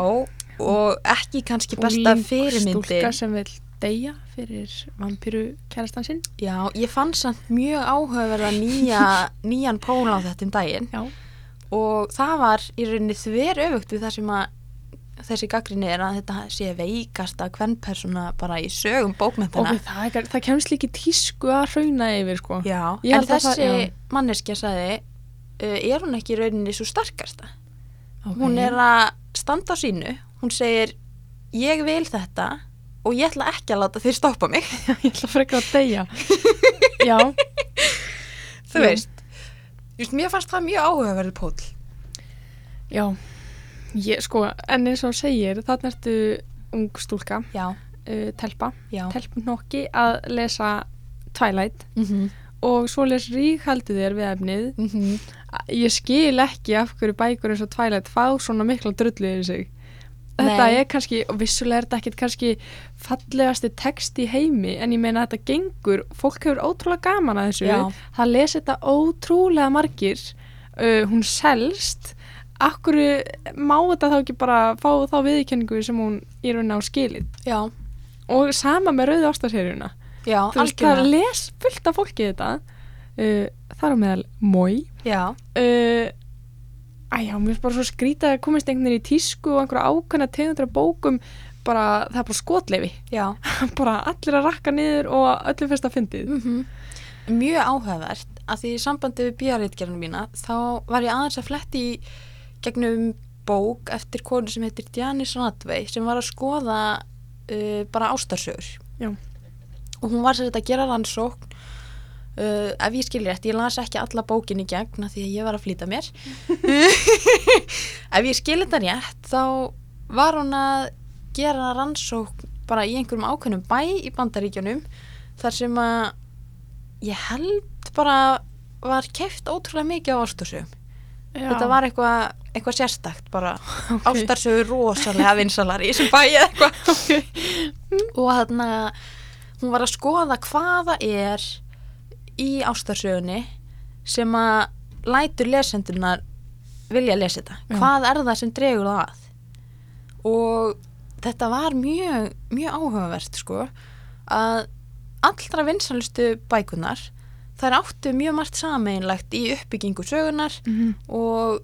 S1: og ekki kannski besta fyrirmyndi
S2: stúlka sem vil deyja fyrir vampíru kærastan sinn
S1: já, ég fann samt mjög áhugaverða nýja, nýjan pól á þetta um daginn
S2: já,
S1: og það var í rauninni þver öfugt við það sem að þessi gaggrinni er að þetta sé veikasta hvern persona bara í sögum
S2: og
S1: bókmentana
S2: við það, er- það kemst líka í tísku að hrauna yfir sko
S1: Já,
S2: Ég
S1: en
S2: held að það-
S1: þessi
S2: já.
S1: manneskja sagði uh, er hún ekki í rauninni svo starkasta?
S2: Ok.
S1: Hún er að standa á sínu, hún segir ég vil þetta og ég ætla ekki að láta þeir stoppa mig
S2: ég ætla frekar að deyja já,
S1: þú
S2: Já.
S1: veist Just, mér fannst það mjög áhugaverður pól
S2: já ég, sko, en eins og þú segir þarna ertu ung stúlka
S1: já,
S2: uh, telpa,
S1: já
S2: telpnokki að lesa Twilight
S1: mm -hmm.
S2: og svo les ríkhaldið þér við efnið ég skil ekki af hverju bækur eins og Twilight fá svona mikla drullu yfir sig þetta
S1: Nei.
S2: er kannski, og vissulega er þetta ekkit kannski fallegasti text í heimi en ég meina að þetta gengur fólk hefur ótrúlega gaman að þessu
S1: Já.
S2: það lesi þetta ótrúlega margir uh, hún selst akkur má þetta þá ekki bara fá þá viðkenningu sem hún í raun á skilið
S1: já,
S2: og sama með rauðu ástaserjuna
S1: já,
S2: þú veist það
S1: algjörlega
S2: les fullt af fólki þetta uh, þar á meðal Mói
S1: já,
S2: uh, Æjá, mér finnst bara svo skrítið að komist einhvern veginn í tísku og einhverja ákveðna tegundra bókum bara, það er bara skotleifi
S1: já
S2: bara allir að rakka niður og öllum fyrst að fyndið
S1: mm mjög áhugavert að því í sambandi við bíaritgerðinu mína þá var ég aðeins að fletti í gegnum bók eftir konu sem heitir Janis Radvey sem var að skoða uh, bara ástarsögur
S2: Já.
S1: og hún var sér þetta að gera rannsókn Uh, ef ég skilur rétt, ég las ekki alla bókin í gegn af því að ég var að flýta mér ef ég skilur þetta rétt þá var hún að gera rannsókn bara í einhverjum ákveðnum bæ í bandaríkjunum þar sem að ég held bara var keft ótrúlega mikið á ástursum þetta var eitthvað eitthvað sérstakt bara okay. ástarsögur rosalega vinsalar í þessum bæ eða eitthvað
S2: okay.
S1: og þarna hún var að skoða hvaða er í ástarsögunni sem að lætur lesendunar vilja að lesa þetta
S2: Já.
S1: hvað er það sem dregur það að og þetta var mjög, mjög áhugavert sko að allra vinsalustu bækunar þær áttu mjög margt sameinlegt í uppbyggingu sögunar
S2: Mhm.
S1: og,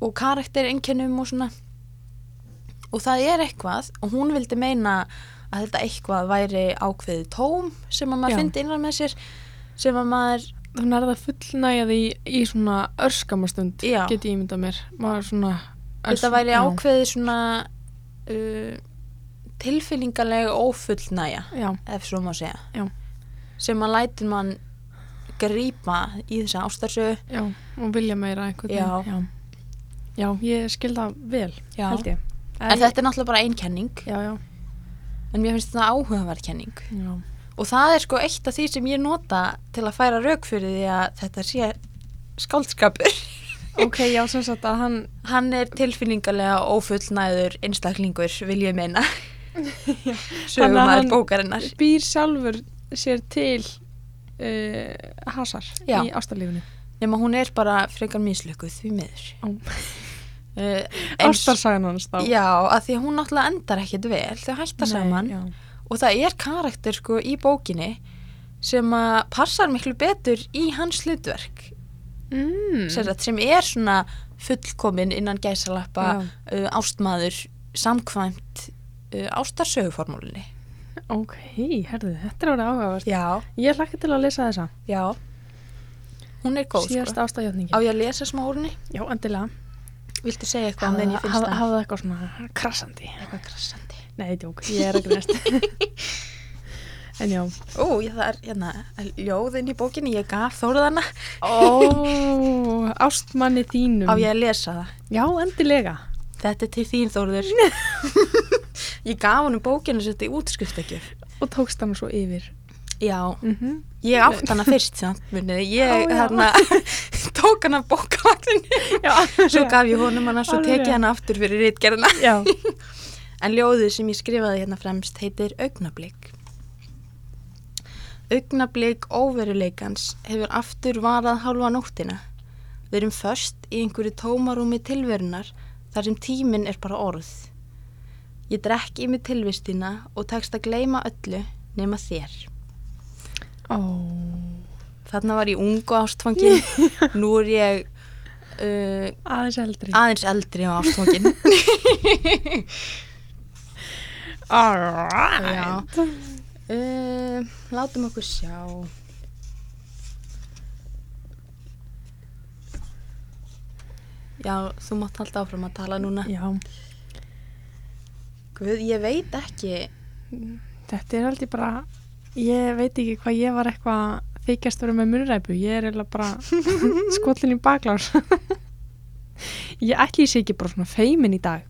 S1: og karakter einkennum og svona og það er eitthvað og hún vildi meina að þetta eitthvað væri ákveðið tóm sem að
S2: Já.
S1: maður fyndi innan með sér sem að maður
S2: þannig er það fullnægjað í, í svona örskamastund
S1: Já.
S2: get ég ímyndað mér maður svona
S1: þetta væri
S2: já.
S1: ákveðið svona uh, tilfinningalega ófullnæja
S2: já,
S1: ef svo má segja
S2: Já.
S1: sem að lætur mann grípa í þessa ástarsu
S2: já, og vilja meira einhvern
S1: Já.
S2: veginn. já, já, ég skil það vel
S1: Já.
S2: held ég
S1: en þetta er náttúrulega bara ein kenning
S2: já, já,
S1: en mér finnst þetta áhugaverð kenning
S2: já,
S1: og það er sko eitt af því sem ég nota til að færa rauk fyrir því að þetta sé skáldskapur
S2: ok, já, sem sagt að hann
S1: hann er tilfinningarlega ófullnæður einstaklingur vil ég meina
S2: Þannig að
S1: sögumæður
S2: hann-
S1: bókarinnar
S2: býr sjálfur sér til uh, hasar
S1: Já.
S2: í ástarlífinu
S1: nema hún er bara frekar mislökuð því miður
S2: Ó.
S1: uh,
S2: ástarsagan hans þá
S1: já, að því að hún náttúrulega endar ekkit vel þau hætta
S2: Nei,
S1: saman
S2: já.
S1: og það er karakter sko í bókinni sem að passar miklu betur í hans hlutverk
S2: Mm.
S1: sem, sagt, sem er svona fullkomin innan gæsalappa
S2: Já.
S1: uh, ástmaður samkvæmt uh, ástarsöguformúlinni
S2: ok, herðu, þetta er orðið áhugavert
S1: já,
S2: ég hlakka til að lesa þessa
S1: já hún er góð
S2: síðast
S1: sko. á
S2: ástarjötningin
S1: ég að lesa smá úrni?
S2: já, endilega
S1: viltu segja eitthvað um
S2: hafði
S1: meðan ég finnst það?
S2: hafði eitthvað svona krassandi
S1: eitthvað krassandi
S2: nei, djók, ég er ekki næst en já
S1: ó, ég- það er hérna, ljóðin í bókinni ég gaf þóruðana
S2: ó, ástmanni þínum
S1: á ég að lesa það
S2: já, endilega
S1: þetta er til þín þóruður ég gaf honum bókinu sem þetta í útskriftagjöf
S2: og tókst hann svo yfir
S1: já,
S2: mm
S1: ég átt hana fyrst samt munið,
S2: Ó,
S1: ég
S2: já.
S1: hérna tók hana bókavagninu
S2: já,
S1: svo gaf ég honum hana svo
S2: Alveg
S1: tekið
S2: rétt.
S1: hana aftur fyrir rítgerðina
S2: já,
S1: en ljóðið sem ég skrifaði hérna fremst heitir augnablík augnablík óveruleikans hefur aftur varað hálfa nóttina við erum först í einhverju tómarúmi tilverunar þar sem tíminn er bara orð ég drekk í mig tilvistina og tekst að gleyma öllu nema þér
S2: ó
S1: þarna var ég ung og ástfangin nú er ég uh,
S2: aðeins eldri
S1: aðeins eldri og ástfangin Já.
S2: alright
S1: Uh, látum okkur sjá. Já, þú mátt halda áfram að tala núna.
S2: já,
S1: Guð, ég veit ekki.
S2: þetta er aldrei bara ég veit ekki hvað ég var eitthvað þykjast verið með munræpu ég er eiginlega bara skollin í baklás ég ætli ég sé ekki bara svona feimin í dag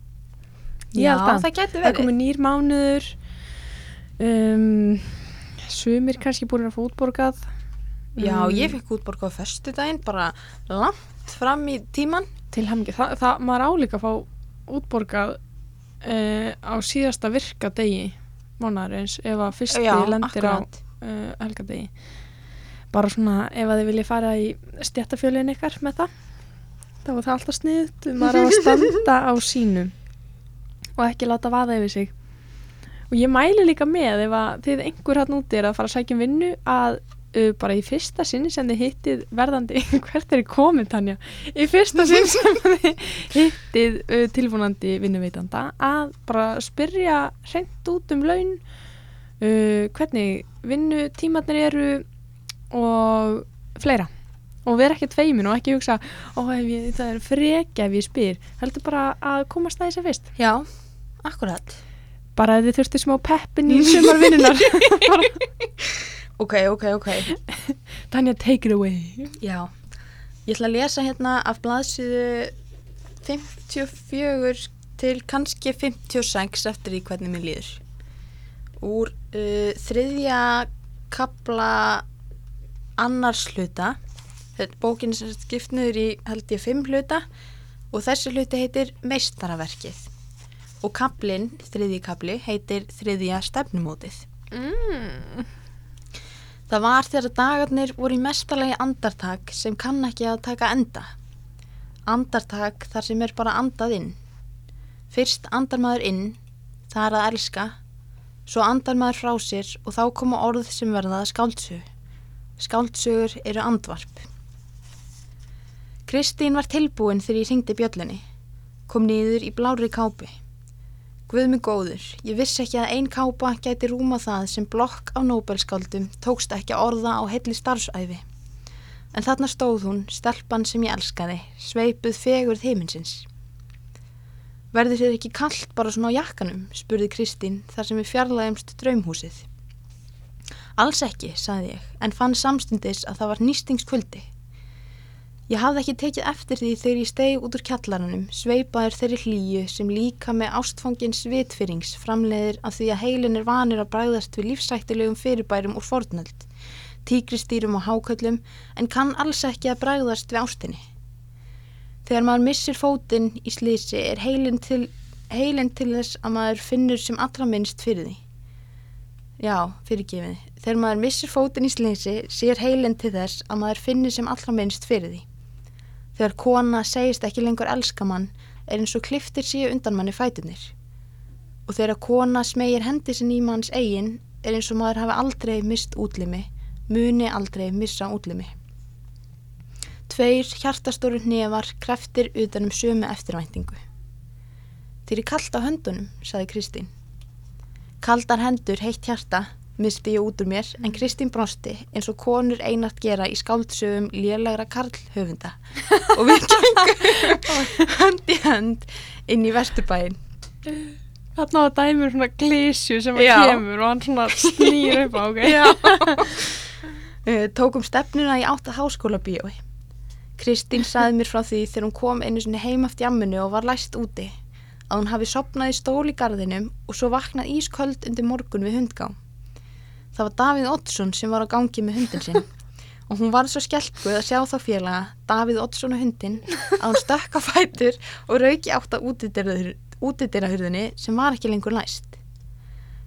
S2: Ég
S1: Já,
S2: held að-
S1: það getur
S2: það er
S1: verið.
S2: komið nýr mánuður um, sumir kannski búin að fótborgað
S1: Já, ég fekk útborgað á förstu daginn, bara langt fram í tíman.
S2: til hemmingi, Þa, það maður álíka að fá útborgað uh, á síðasta virka degi mánuðarins ef að fyrsti
S1: Já,
S2: lendir á
S1: akkurat.
S2: uh, helgadegi bara svona ef að þið viljið fara í stjættafjölin ykkar með það þá var það alltaf sniðt maður á að standa á sínu og ekki láta vaða yfir sig og ég mæli líka með ef að þið einhver hann úti er að fara að sækja um vinnu að uh, bara í fyrsta sinni sem þið hittið verðandi hvert er í komið Tanja í fyrsta sinni sem þið hittið uh, tilfónandi vinnuveitanda að bara spyrja hreint út um laun uh, hvernig vinnutímarnir eru og fleira og vera ekki tveimin og ekki hugsa ó, ef ég, það er frekja ef ég spyr heldur bara að komast það í sig fyrst
S1: Já, akkurat.
S2: bara ef þið þurfti smá peppin í sumar vinnunar
S1: Ok, ok, ok.
S2: Tanja, take it away.
S1: Já, ég ætla að lesa hérna af blaðsíðu 54 til kannski 56 eftir í hvernig mér líður. Úr uh, þriðja kapla annars hluta, þetta bókin sem sagt skipt niður í held ég fimm hluta og þessi hluti heitir meistaraverkið og kaplinn, þriðji kapli, heitir þriðja stefnumótið.
S2: Mm.
S1: Það var þegar dagarnir voru í mestalagi andartak sem kann ekki að taka enda. Andartak þar sem er bara andað inn. Fyrst andar maður inn, það er að elska, svo andar maður frá sér og þá koma orð sem verða að skáldsögu. Skáldsögur eru andvarp. Kristín var tilbúin þegar ég hringdi bjöllunni. Kom niður í blárri kápi. Guð mig góður, ég vissi ekki að ein kápa gæti rúma það sem blokk af Nobelskáldum tókst ekki að orða á heilli starfsæfi. En þarna stóð hún, stelpan sem ég elskaði, sveipuð fegurð heiminsins. Verður þér ekki kallt bara svona á jakkanum, spurði Kristín þar sem við fjarlægumst draumhúsið. Alls ekki, sagði ég, en fann samstundis að það var nýstingskvöldi. Ég hafði ekki tekið eftir því þegar ég stegi út úr kjallaranum, sveipaður þeirri hlýju sem líka með ástfangin svitfyrings framleiðir af því að heilin er vanir að bræðast við lífsættilegum fyrirbærum úr fornöld, tíkristýrum og háköllum, en kann alls ekki að bræðast við ástinni. Þegar maður missir fótinn í slísi er heilin til, heilin til þess að maður finnur sem allra minnst fyrir því. Já, fyrirgefið. Þegar maður missir fótinn í slísi sér heilin til þess að maður finnir sem allra minnst fyrir því. Þegar kona segist ekki lengur elska mann er eins og kliftir síu undan manni fætunir. Og þegar kona smegir hendi sinni í manns eigin er eins og maður hafi aldrei mist útlimi, muni aldrei missa útlimi. Tveir hjartastóru hnefar kreftir utanum sömu eftirvæntingu. Þeir er kallt á höndunum, saði Kristín. Kaldar hendur, heitt hjarta, misti ég út úr mér, en Kristín brosti eins og konur einart gera í skáldsöfum lélagra karlhöfunda og við gengum hönd í hönd inn í vesturbæin.
S2: Þarna var dæmur svona glísju sem að
S1: Já.
S2: kemur og hann svona snýr upp á, ok?
S1: Eh, Tókum stefnuna í átta háskóla bíói. Kristín saði mér frá því þegar hún kom einu sinni heim aftur jamminu og var læst úti að hún hafi sopnað í stól í garðinum og svo vaknað ísköld undir morgun við hundgá. Það var Davíð Oddsson sem var á gangi með hundin sinn og hún var svo skelkuð að sjá þá félaga Davíð Oddsson og hundin að hún stökk á fætur og rauki átt að útidyrahurðinni sem var ekki lengur læst.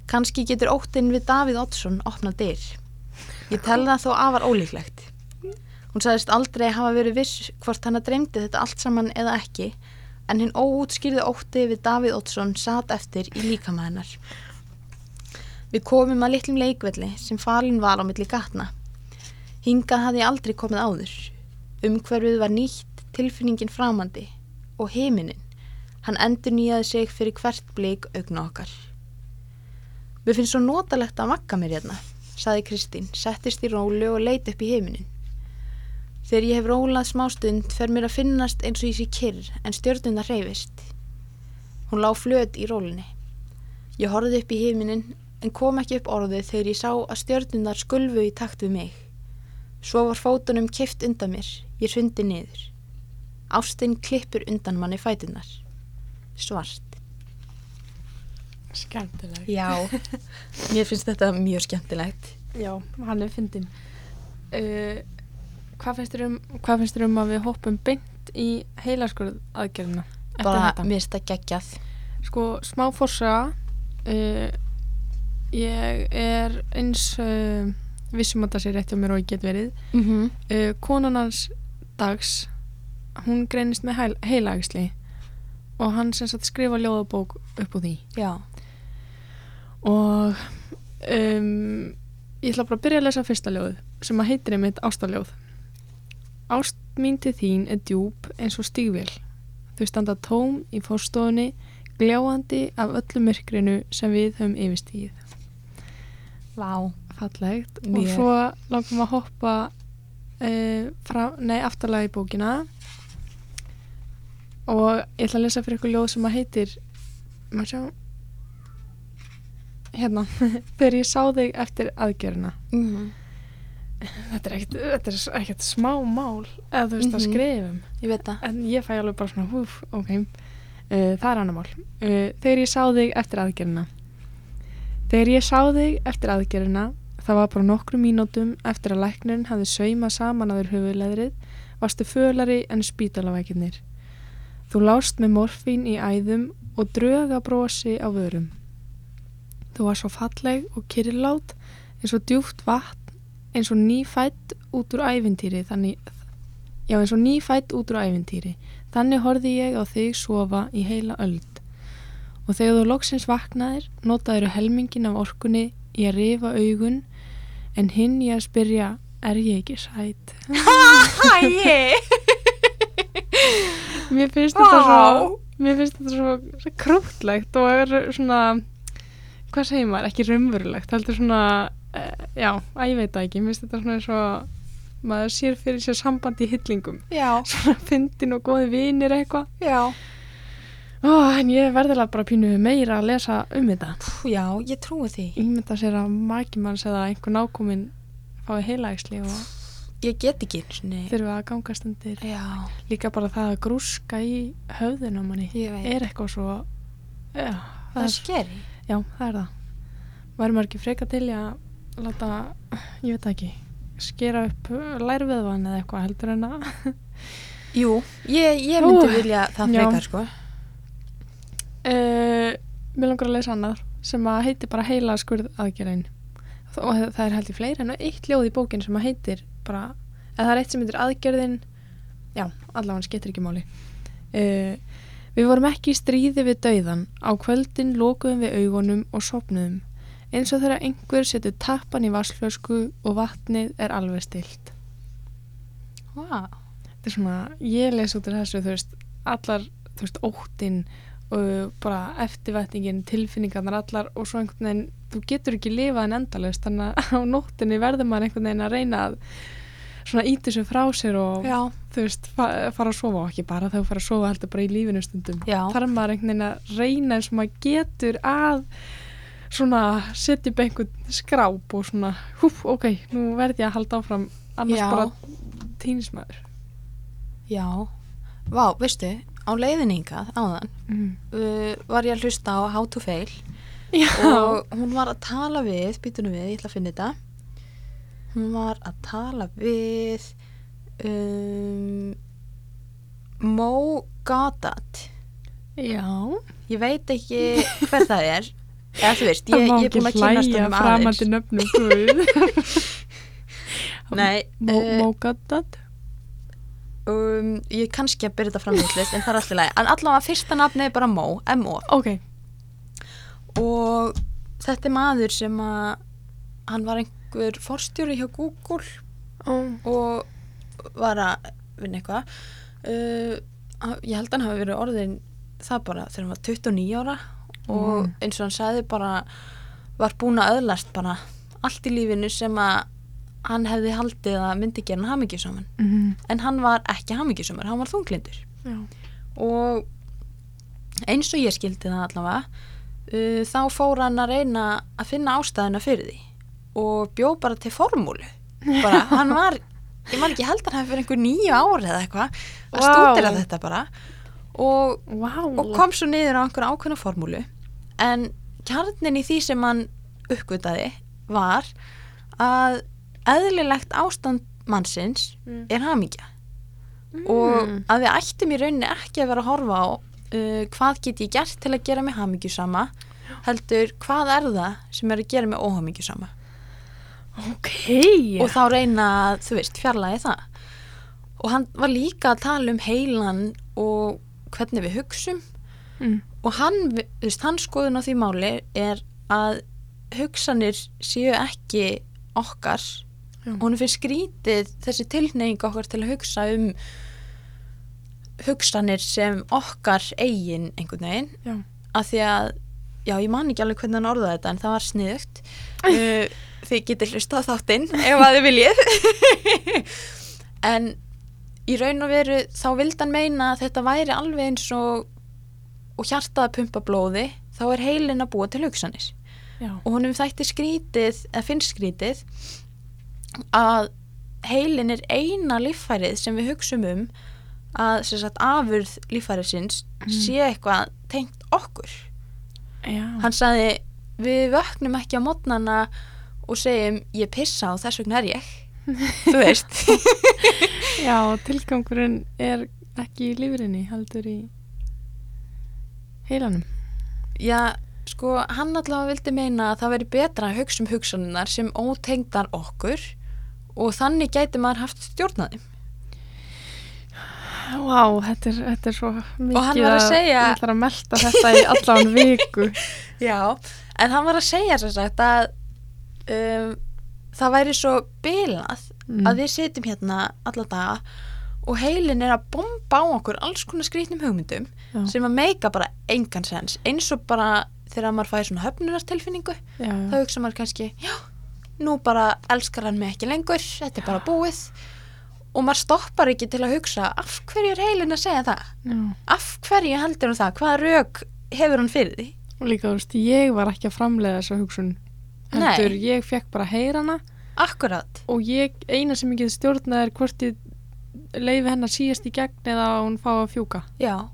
S1: Kanski getur óttinn við Davíð Oddsson opnað dyr. Ég tel það þó afar ólíklegt. Hún sagðist aldrei hafa verið viss hvort hana dreymdi þetta allt saman eða ekki en hinn óútskýrði ótti við Davíð Oddsson satt eftir í líkama hennar. Við komum að litlum leikvelli sem falin var á milli gatna. Hingað hafði ég aldrei komið áður. Umhverfið var nýtt, tilfinningin framandi og heiminin. Hann endur nýjaði sig fyrir hvert blík augna okkar. Mér finnst svo notalegt að magga mér hérna, saði Kristín, settist í rólu og leit upp í heiminin. Þegar ég hef rólað smástund fer mér að finnast eins og ég sé kyrr en stjörnuna hreyfist. Hún lá flöt í rólunni. Ég horfði upp í heiminin en kom ekki upp orðið þegar ég sá að stjörnunar skulfu í takt við mig. Svo var fótunum kift undan mér, ég hrundi niður. Ástinn klippur undan manni fætunar. Svart.
S2: Skemmtileg.
S1: Já, mér finnst þetta mjög skemmtilegt.
S2: Já, hann er fyndin. Uh, hvað finnst þér um, hvað finnst þér um að við hoppum beint í heilaskurð aðgerðina? eftir
S1: Bara,
S2: þetta?
S1: mér finnst þetta geggjað.
S2: Sko, smá fórsaga. Uh, ég er eins uh, vissum að það sé rétt hjá mér og ég get verið.
S1: Mm -hmm.
S2: uh, konan hans dags hún greinist með heil, heilagsli og hann sem sagt skrifa ljóðabók upp á því
S1: Já.
S2: og um, ég ætla bara að byrja að lesa fyrsta ljóð sem að heitir einmitt ástaljóð Ást mín til þín er djúb eins og stígvél þau standa tóm í fórstofunni gljáandi af öllu myrkrinu sem við höfum yfirstíð
S1: Vá.
S2: fallegt og
S1: Mjög.
S2: svo langum að hoppa uh, fram, nei, aftalega í bókina og ég ætla að lesa fyrir ykkur ljóð sem að heitir maður sjá
S1: Mhm.
S2: hérna, þegar ég sá þig eftir aðgerina þetta er ekkert, þetta er s- ekkert smá mál eða þú veist að um.
S1: Mhm.
S2: skrifum
S1: Ég veit það.
S2: en ég fæ alveg bara svona húf, ok uh, það er annar mál uh, þegar ég sá þig eftir aðgerina þegar ég sá þig eftir aðgerina það var bara nokkrum mínútum eftir að læknirinn hafði saumað saman að þér höfuleðrið varstu fölari en spítalavækirnir þú lást með morfín í æðum og dröga brosi á vörum þú var svo falleg og kyrlát eins og djúft vatn eins og nýfætt út úr ævintýri þannig Já, eins og nýfætt út úr ævintýri. Þannig horfði ég á þig sofa í heila öld. Og þegar þú loksins vaknaðir, notaðir helmingin af orkunni í að rifa augun, en hinn ég að spyrja, er ég ekki sætt?
S1: Æi!
S2: Mér finnst þetta svo,
S1: Vá!
S2: mér finnst þetta svo, svo krútlegt og er svona, hvað segir maður, ekki raunverulegt, heldur svona, uh, já, að ég veit það ekki, mér finnst þetta svona eins og, maður sér fyrir sér sambandi í hyllingum.
S1: Já,
S2: svona fyndin og góði vinir eitthvað
S1: já.
S2: oh, en ég verðilega bara pínu meira að lesa um þetta
S1: Pú, já, ég trúi því.
S2: ímynda sér að makimanns eða einhver nákominn fái heilaæsli og
S1: Ég get ekki einu sinni.
S2: þurfa að gangast undir
S1: Já,
S2: líka bara það að grúska í höfðinu á manni
S1: ég veit.
S2: er eitthvað svo já,
S1: það
S2: það
S1: er
S2: er,
S1: skeri.
S2: já, það er það væri maður ekki freka til í að láta, ég veit það ekki skera upp lærveðvan eða eitthvað heldur en að
S1: Jú, ég, ég myndi
S2: Ú,
S1: vilja það
S2: já.
S1: frekar, sko.
S2: Uh, mér langar að lesa annað sem að heitir bara heila skurð aðgerðin og það það er heldur fleiri en eitt ljóð í bókin sem að heitir bara, eða það er eitt sem heitir aðgerðin já, allavega skiptir ekki máli uh, Við vorum ekki í stríði við dauðan á kvöldin lokuðum við augunum og sopnuðum eins og þegar einhver setur tappan í vassflösku og vatnið er alveg stilt
S1: Vá.
S2: þetta er svona, ég les út af þessu, þú veist, allar, þú veist, óttin og bara eftirvætningin, tilfinningarnar allar og svo einhvern veginn, þú getur ekki lifað en endalaust, þannig að á nóttinni verður maður einhvern veginn að reyna að svona íti þessu frá sér og
S1: Já,
S2: þú veist, fa fara að sofa og ekki bara þegar þú fara að sofa heldur bara í lífinu stundum
S1: já.
S2: þarf maður einhvern veginn að reyna eins og maður getur að svona setja upp einhvern skráp og svona, hú, ok, nú verð ég að halda áfram, annars
S1: Já.
S2: bara týnist maður
S1: Já. Vá, veistu, á leiðininga áðan
S2: mm.
S1: uh, var ég að hlusta á How to Fail
S2: Já,
S1: og hún var að tala við, býtunum við, ég ætla að finna þetta. Hún var að tala við um, Mo Goddard.
S2: já.
S1: Ég veit ekki hver það er. Eða þú veist, ég,
S2: það má
S1: ég er
S2: ekki
S1: búin að kynast
S2: hlæja
S1: um
S2: fram
S1: aðeins.
S2: að til nöfnum Guð.
S1: Nei,
S2: Mó-
S1: eh,
S2: Mógadad
S1: um, ég er kannski að byrja þetta fram vitlaust, en það er alltaf læg. En allavega fyrsta nafni er bara Mo, M-O.
S2: Ok,
S1: Og þetta er maður sem að hann var einhver forstjóri hjá Google og var að vinna eitthvað. Uh, hann- ég held að hann hafi verið orðin það bara þegar hann var 29 ára og
S2: Mm.
S1: eins og hann sagði bara var búin að öðlast bara allt í lífinu sem að hann hefði haldið að myndi gera hann hamingjusaman
S2: mm.
S1: en hann var ekki hamingjusumur, hann var þunglindur
S2: já.
S1: og eins og ég skildi það allavega uh, þá fór hann að reyna að finna ástæðuna fyrir því og bjó bara til formúlu bara, hann var, ég man ekki ég held að hann hafi fyrir einhver nýju ári eða eitthvað að
S2: Vá.
S1: stúdera þetta bara og
S2: Wow.
S1: og kom svo niður á einhverja ákveðna formúlu en kjarnin í því sem hann uppgötaði var að eðlilegt ástand mannsins
S2: Mm.
S1: er hamingja og að við ættum í rauninni ekki að vera að horfa á uh, hvað get ég gert til að gera mig hamingjusama heldur hvað er það sem er að gera mig óhamingjusama
S2: Ok
S1: og þá reyna, að, þú veist, fjarlægi það og hann var líka að tala um heilan og hvernig við hugsum
S2: mm.
S1: og hann, þú veist, hans skoðun á því máli er að hugsanir séu ekki okkar
S2: Já.
S1: hún finnst skrítið þessi tilneying okkar til að hugsa um hugsanir sem okkar eigin einhvern veginn
S2: Já.
S1: af því að, já ég man ekki alveg hvernig hann orðaði þetta en það var sniðugt uh, þið getur hlustað á þáttinn ef að þið viljið en í raun og veru þá vildi hann meina að þetta væri alveg eins og og hjartað að pumpa blóði þá er heilin að búa til hugsanir
S2: Já.
S1: og honum þætti skrítið, eða finnst skrítið að heilin er eina líffærið sem við hugsum um að sem sagt, afurð líffæriðsins
S2: Mm.
S1: sé eitthvað tengt okkur
S2: já,
S1: hann sagði við vöknum ekki á mótnana og segjum ég pissa og þess vegna er ég þú veist
S2: já, tilgangurinn er ekki í lífurinni, heldur í heilanum
S1: já, sko, hann allavega vildi meina að það veri betra að hugsa um hugsanunar sem ótengdar okkur og þannig gæti maður haft stjórnaði
S2: Vá, þetta er, þetta er svo mikið
S1: hann var að segja-
S2: Ég ætlar að melta þetta í allan viku
S1: já, en hann var að segja sem sagt að um, það væri svo bilað
S2: Mm.
S1: að við sitjum hérna alla daga og heilin er að bomba á okkur alls konar skrýtnum hugmyndum
S2: Já.
S1: sem að meika bara engan sens eins og bara þegar maður fæði svona höfnunartilfinningu
S2: Já,
S1: þá hugsa maður kannski, já, nú bara elskar hann mig ekki lengur, þetta er bara búið og maður stoppar ekki til að hugsa af hverju er heilin að segja það
S2: já.
S1: af hverju heldur hann það, hvaða rauk hefur hann fyrir því
S2: Og líka, þú veist, ég var ekki að framleiða þessa hugsun Heldur,
S1: Nei.
S2: ég fekk bara að heyra hana
S1: akkurat,
S2: og ég, eina sem ég get stjórnað er hvort ég leifi hennar síðast í gegn eða að hún fá að fjúka
S1: já,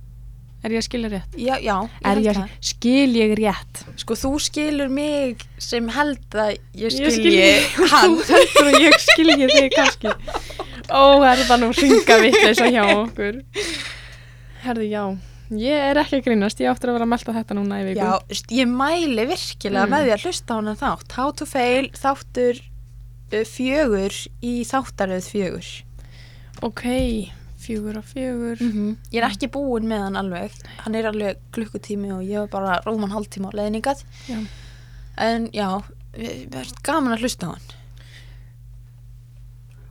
S2: Er ég að skilja rétt?
S1: já, já
S2: Er
S1: held
S2: ég,
S1: það.
S2: að- skil ég rétt?
S1: sko þú skilur mig sem held að ég skilji,
S2: hann
S1: hann
S2: Þú heldur að ég skilji þig kannski Ó, er það nú ringa vitleisa hjá okkur Herði, já Ég er ekki að grínast, ég áttur að vera að melta þetta núna í viku
S1: já, st- ég mæli virkilega
S2: Mm.
S1: með því að hlusta á hann þátt How to fail, þáttur uh, fjögur í þáttaröð fjögur
S2: Ok, fjögur og fjögur
S1: Ég er ekki búin með hann alveg Hann er alveg klukkutími og ég var bara rúman hálftíma á leðningað
S2: Já.
S1: En já, við við erum gaman að hlusta á hann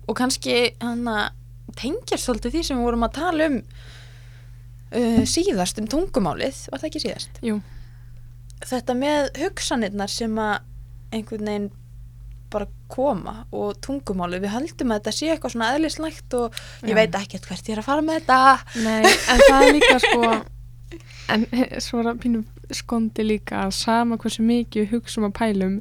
S1: Og kannski hann að tengjast svolítið því sem við vorum að tala um uh, síðast um tungumálið, var það ekki síðast?
S2: Jú,
S1: Þetta með hugsanirnar sem að einhvern veginn bara koma og tungumálið, við höldum að þetta sé eitthvað svona eðlislægt og ég
S2: Já.
S1: veit ekkert hvert ég er að fara með þetta
S2: nei, en það er líka sko En svo er að pínu skondi líka að sama hversu mikið við hugsum að pælum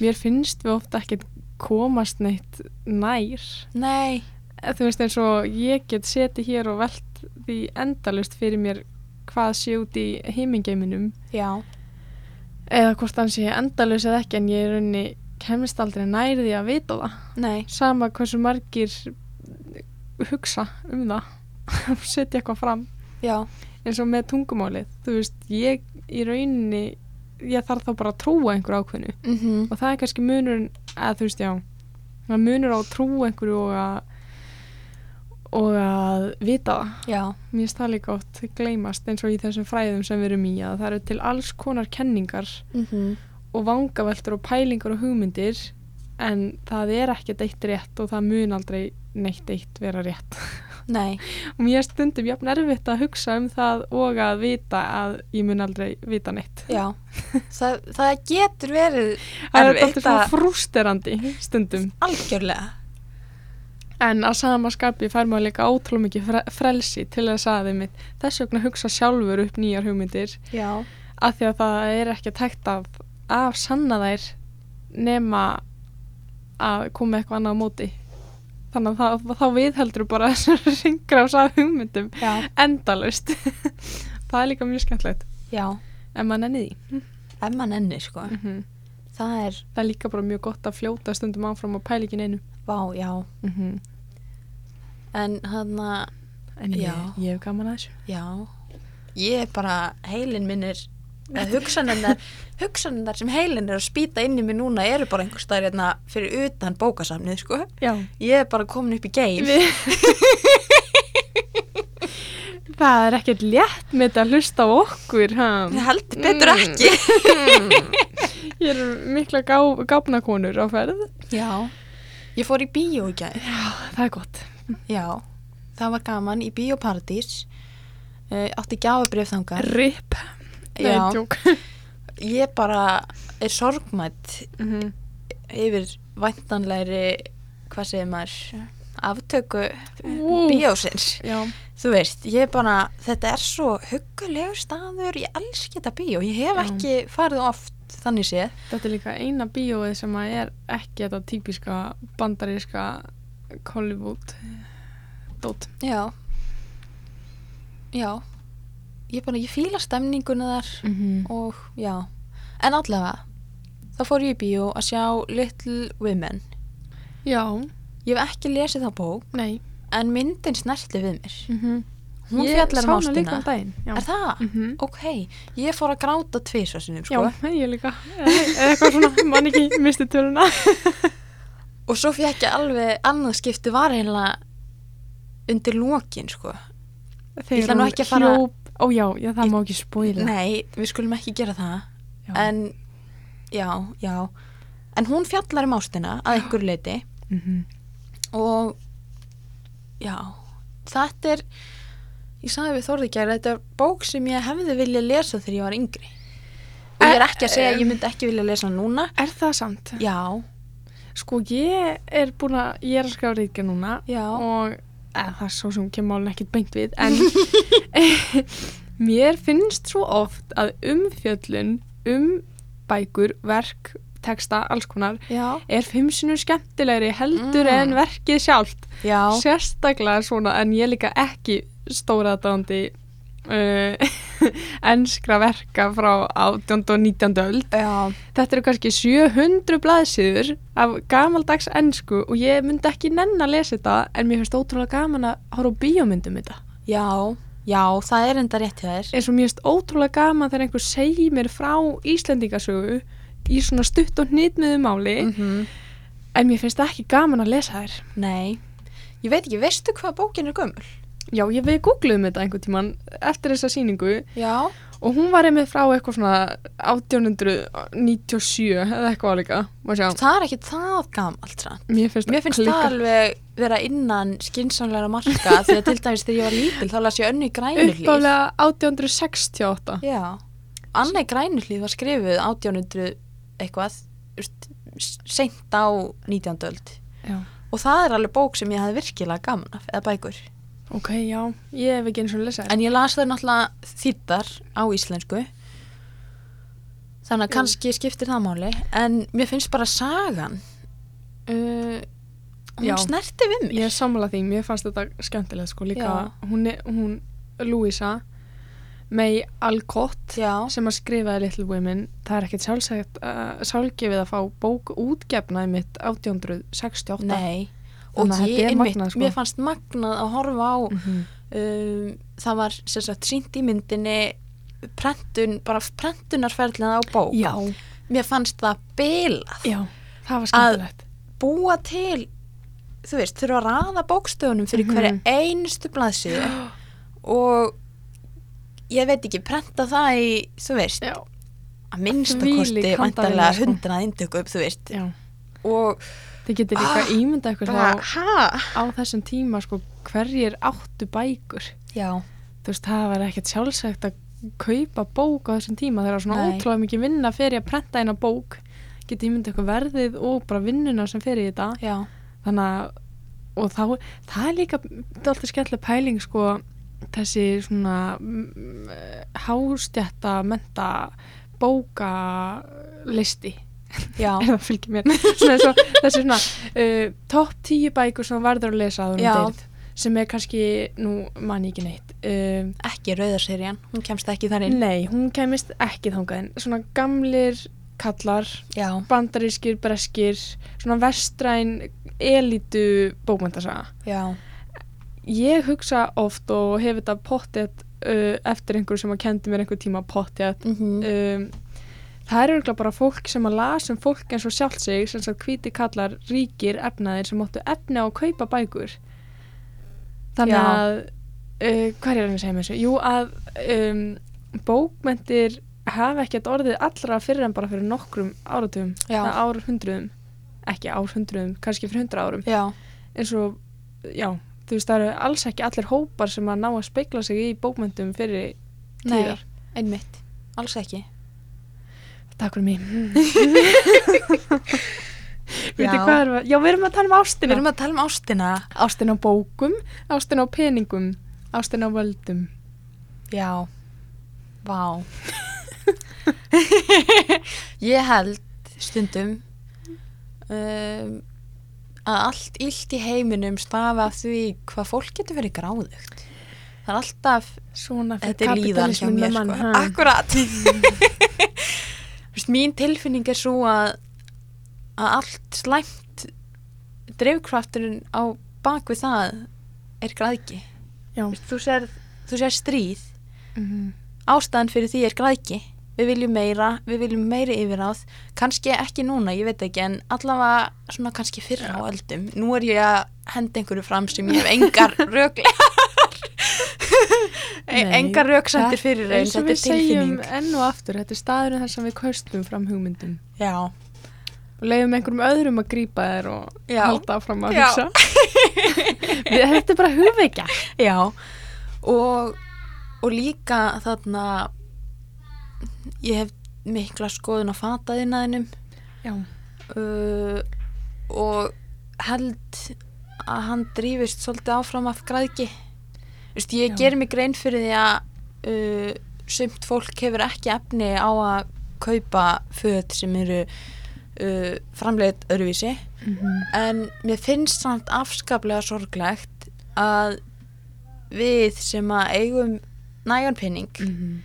S2: Mér finnst við ofta ekkert komast neitt nær
S1: Nei,
S2: Eh, þú veist eins og ég get setið hér og velt því endalust fyrir mér hvað sé út í heimingeiminum
S1: já,
S2: eða hvort hann sé endalus eða ekki en ég er raunni kemist aldrei nær því að vita það
S1: nei,
S2: sama hversu margir hugsa um það og setja eitthvað fram
S1: já,
S2: eins og með tungumálið þú veist ég í rauninni ég þarf þá bara að trúa einhverju ákveðnu
S1: mhm,
S2: og það er kannski munur að þú veist já það er munur á að trúa einhverju og að og að vita það
S1: já,
S2: Mér finnst það líka oft gleymast eins og í þessum fræðum sem við erum í að það eru til alls konar kenningar
S1: mhm,
S2: og vangaveltur og pælingar og hugmyndir en það er ekkert eitt rétt og það mun aldrei neitt eitt vera rétt.
S1: nei,
S2: Og mér er stundum jafn erfitt að hugsa um það og að vita að ég mun aldrei vita neitt.
S1: já. Þa, það getur verið
S2: Það er alltaf
S1: erfitt
S2: svona
S1: að-
S2: frústerandi stundum.
S1: algjörlega.
S2: En að sama skapi fær maður líka ótrúlega mikið fre frelsi til þess að þeim þess vegna hugsa sjálfur upp nýjar hugmyndir
S1: Já,
S2: af því að það er ekki tækt af af sanna þær nema að koma eitthvað annað á móti þannig að þá, þá viðheldur bara þessar ringra á sað hugmyndum
S1: já,
S2: endalaust það er líka mjög skemmtlegt
S1: já,
S2: en maður nenni því
S1: ef mann enni, sko.
S2: -hmm.
S1: Það er,
S2: það er líka bara mjög gott að fljóta stundum áfram og pæla ekki neinu
S1: vá, já,
S2: mm -hmm.
S1: en hann að,
S2: en ég,
S1: Já.
S2: ég hef gaman að þessu
S1: já, ég er bara, heilin minn er, eða hugsanennar, hugsanennar sem heilin er að spýta inn í mig núna eru bara einhver staðir hérna fyrir utan bókasamnið, sko.
S2: Já.
S1: Ég er bara komin upp í geim.
S2: það er ekkert létt með þetta að hlusta á okkur ha?
S1: Ég held betur
S2: Mm.
S1: ekki.
S2: Ég er mikla gá, gáfnakonur á ferð.
S1: Já, ég fór í bíó í gær.
S2: Já, það er gott.
S1: Já, það var gaman í Bíóparadís uh, átti gjáabrif þangar
S2: Rip. Nei,
S1: Já.
S2: tjók.
S1: ég bara er sorgmætt
S2: Mm-hmm.
S1: yfir væntanlegri hvað segir maður aftöku
S2: Vú.
S1: bíósins
S2: Já.
S1: þú veist, ég bara, þetta er svo huggulegur staður, ég elski þetta bíó ég hef
S2: Já.
S1: ekki farið oft einmitt, þannig séð.
S2: Þetta er líka eina bíóið sem að er ekki þetta típiska bandaríska Hollywood dót.
S1: Já. Já. Ég bara, ég fíla stemninguna þar
S2: Mm -hmm.
S1: og já. En allavega, þá fór ég í bíó að sjá Little Women.
S2: Já,
S1: Ég hef ekki lesið það bók,
S2: nei.
S1: en myndin snerti við mér.
S2: Mm -hmm.
S1: Mhm. Hún fjallar um
S2: Ég sá hana líka um
S1: ástina.
S2: daginn. Já.
S1: Er það?
S2: Mhm.
S1: Ok, ég fór að gráta tvísa sinum, sko.
S2: Já, ég líka. Eða eitthvað svona, mann ekki misti töluna.
S1: Og svo fekk ég alveg annað skipti var eiginlega undir lokin, sko.
S2: Þegar
S1: ætla nú
S2: hún
S1: ekki að fara-
S2: hljóp- Ó já, já, það
S1: Ég-
S2: má ekki spóila.
S1: Nei, við skulum ekki gera það.
S2: Já.
S1: En, já, já. En hún fjallar um ástina að einhver leiti
S2: Mhm.
S1: og, já, þetta er, ég sagði við Þórði gæra, þetta er bók sem ég hefði viljað lesa þegar ég var yngri. Og ég er ekki að segja að ég myndi ekki vilja lesa hana núna.
S2: Er það samt?
S1: Já,
S2: Sko, ég er búin að, ég er að skrifa ríkja núna
S1: Já.
S2: og eða, það er svo sem kemur málun ekkert beint við, en mér finnst svo oft að umfjöllun um bækur, verk, texta, alls konar,
S1: já,
S2: er fimm sinnum skemmtilegri heldur
S1: Mm.
S2: en verkið sjálft.
S1: já,
S2: Sérstaklega svona, en ég er líka ekki stóraðdándi uh, enskra verka frá 18. og 19. öld
S1: já,
S2: þetta eru kannski 700 blaðsíður af gamaldags ennsku og ég myndi ekki nenn að lesa þetta en mér finnst ótrúlega gaman að horfa á bíómyndum þetta.
S1: já, já, það er enda rétt hjá þér.
S2: Eins og mér finnst ótrúlega gaman þegar einhver segir mér frá Íslendingasögu í svona stutt og hnitmiðu máli
S1: -hmm.
S2: en mér finnst það ekki gaman að lesa þær.
S1: Nei, ég veit ekki, veistu hvað bókin er gömul?
S2: Já, ég við googluðum þetta einhvern tíman eftir þessa síningu
S1: Já,
S2: og hún var einmitt frá eitthvað svona 1897 eða eitthvað álíka. Má sjá.
S1: það er ekki það gamalt sann.
S2: Mér finnst,
S1: Mér finnst það
S2: klikkað.
S1: alveg vera innan skinsamlega marka því að til dæmis þegar ég var lítil þá las ég önnu í grænulíf.
S2: uppálega 1868.
S1: Já, annað í grænulíf var skrifuð 1800 eitthvað, seint á 19. öld.
S2: Já.
S1: Og það er alveg bók sem ég hafði virkilega gaman af, eða bækur.
S2: Ok, já, ég hef ekki eins og lesað.
S1: En ég las þau náttúrulega þýttar á íslensku. Þannig að
S2: Jú.
S1: kannski skiptir það máli, en mér finnst bara sagan,
S2: uh,
S1: hún
S2: Já.
S1: snerti við mér.
S2: ég er sammála því, mér fannst þetta skemmtilegt sko líka.
S1: Já.
S2: Hún, er, hún, Louisa, May Alcott,
S1: Já,
S2: sem að skrifaði Little Women, það er ekkert sjálfsagt, uh, sjálfgefið að fá bók útgefnaði mitt 1868.
S1: nei. Og
S2: Þannig að
S1: ég,
S2: þetta er
S1: einmitt,
S2: magnað, sko.
S1: mér fannst magnað að horfa á,
S2: Mhm.
S1: um, það var sem sagt sínt í myndinni prentun, bara prentunarferðlina á bók.
S2: Já,
S1: Mér fannst það bilað.
S2: já, það var skemmtilegt.
S1: Búa til, þú veist, þurfa að raða bókstöðunum fyrir
S2: Mhm.
S1: hverja einustu blaðsíðu. og ég veit ekki, prenta það í, þú veist,
S2: Já,
S1: að minnsta
S2: Þvílík
S1: kosti
S2: handavinna,
S1: vantarlega
S2: sko.
S1: hundrað indöku upp, þú veist,
S2: já.
S1: og
S2: Þið getur líka
S1: Ah,
S2: ímyndað ykkur
S1: bara,
S2: þá
S1: hæ?
S2: á þessum tíma sko hverjir áttu bækur.
S1: Já,
S2: þú veist, það var ekkert sjálfsagt að kaupa bók á þessum tíma þegar svona
S1: Nei.
S2: ótrúlega mikið vinna fyrir að prenta eina bók geti ímyndið eitthvað verðið og bara vinnuna sem fyrir í þetta
S1: já,
S2: þannig að, og þá það er líka, það er alltaf skemmtileg pæling sko, þessi svona mm, eh, hástjætta menta bókalisti
S1: já,
S2: ef það fylgir mér svona, svo, þessi svona uh, top 10 bækur sem þú verður að lesa að
S1: Já.
S2: hún deild sem er kannski, nú man ég ekki neitt um,
S1: ekki rauðarserjan, hún kemst ekki þar inn.
S2: Nei, hún kemist ekki þangað en svona gamlir kallar,
S1: Já,
S2: bandarískir, breskir, svona vestræn elitu bókmyndasaga.
S1: já,
S2: Ég hugsa oft og hef þetta pottet uh, eftir einhverju sem að kendi mér einhver tíma pottet.
S1: mm
S2: Um, það er örgulega bara fólk sem að las um fólk eins og sjálft sig, sem sagt hvíti kallar, ríkir, efnaðir sem áttu efni á að kaupa bækur. Þannig
S1: Já.
S2: að, uh, hvað er hann að segja með þessu? Jú, að um, bókmentir hafa ekkert orðið allra fyrir en bara fyrir nokkrum áratugum,
S1: Já.
S2: eða árhundruðum, ekki árhundruðum, kannski fyrir hundra árum.
S1: já,
S2: Eins og, já, þú veist, það eru alls ekki allir hópar sem að ná að speikla sig í bókmentum fyrir
S1: nei,
S2: tíðar.
S1: einmitt, alls ekki.
S2: Takk fyrir mig. Veitir
S1: Já.
S2: hvað erum við? Já, við erum að tala um
S1: Við
S2: ástina.
S1: erum að tala um ástina.
S2: Ástina á bókum, ástina á peningum, ástina á völdum.
S1: Já, vá. ég held stundum um, að allt illt í heiminum stafa af því hvað fólk getur verið gráðugt það er alltaf
S2: Svona fyrir
S1: þetta er líðan hjá
S2: kapitalismin
S1: mér
S2: með mann,
S1: sko.
S2: ha?
S1: akkurat Mm. Vist, mín tilfinning er svo að að allt slæmt dreifkrafturinn á bak við það er græðki
S2: Já.
S1: Vist, þú, sér, þú sér stríð
S2: Mhm.
S1: ástæðan fyrir því er græðki við viljum meira, við viljum meiri yfiráð kannski ekki núna, ég veit ekki en allavega svona kannski fyrra á öldum nú er ég að henda einhverju fram sem ég hef engar röglegar
S2: Nei,
S1: E- engar rögsendir fyrir einn,
S2: eins og
S1: þetta
S2: við
S1: er
S2: segjum
S1: tilfinning
S2: enn og aftur þetta er staðurinn þar sem við kaustum fram hugmyndum
S1: já,
S2: og leiðum einhverjum öðrum að grípa þér og
S1: Já.
S2: halda áfram að
S1: Já.
S2: hugsa Við- þetta er bara hugveikja
S1: já og, og líka þarna ég hef mikla skoðun á fataðinaðinum
S2: já,
S1: uh, og held að hann drífist svolítið áfram af græðki Vist, ég
S2: Já.
S1: ger mig grein fyrir því að uh, sumt fólk hefur ekki efni á að kaupa föt sem eru uh, framleitt öðruvísi
S2: Mhm.
S1: en mér finnst samt afskaplega sorglegt að við sem að eigum nægan penning
S2: Mhm.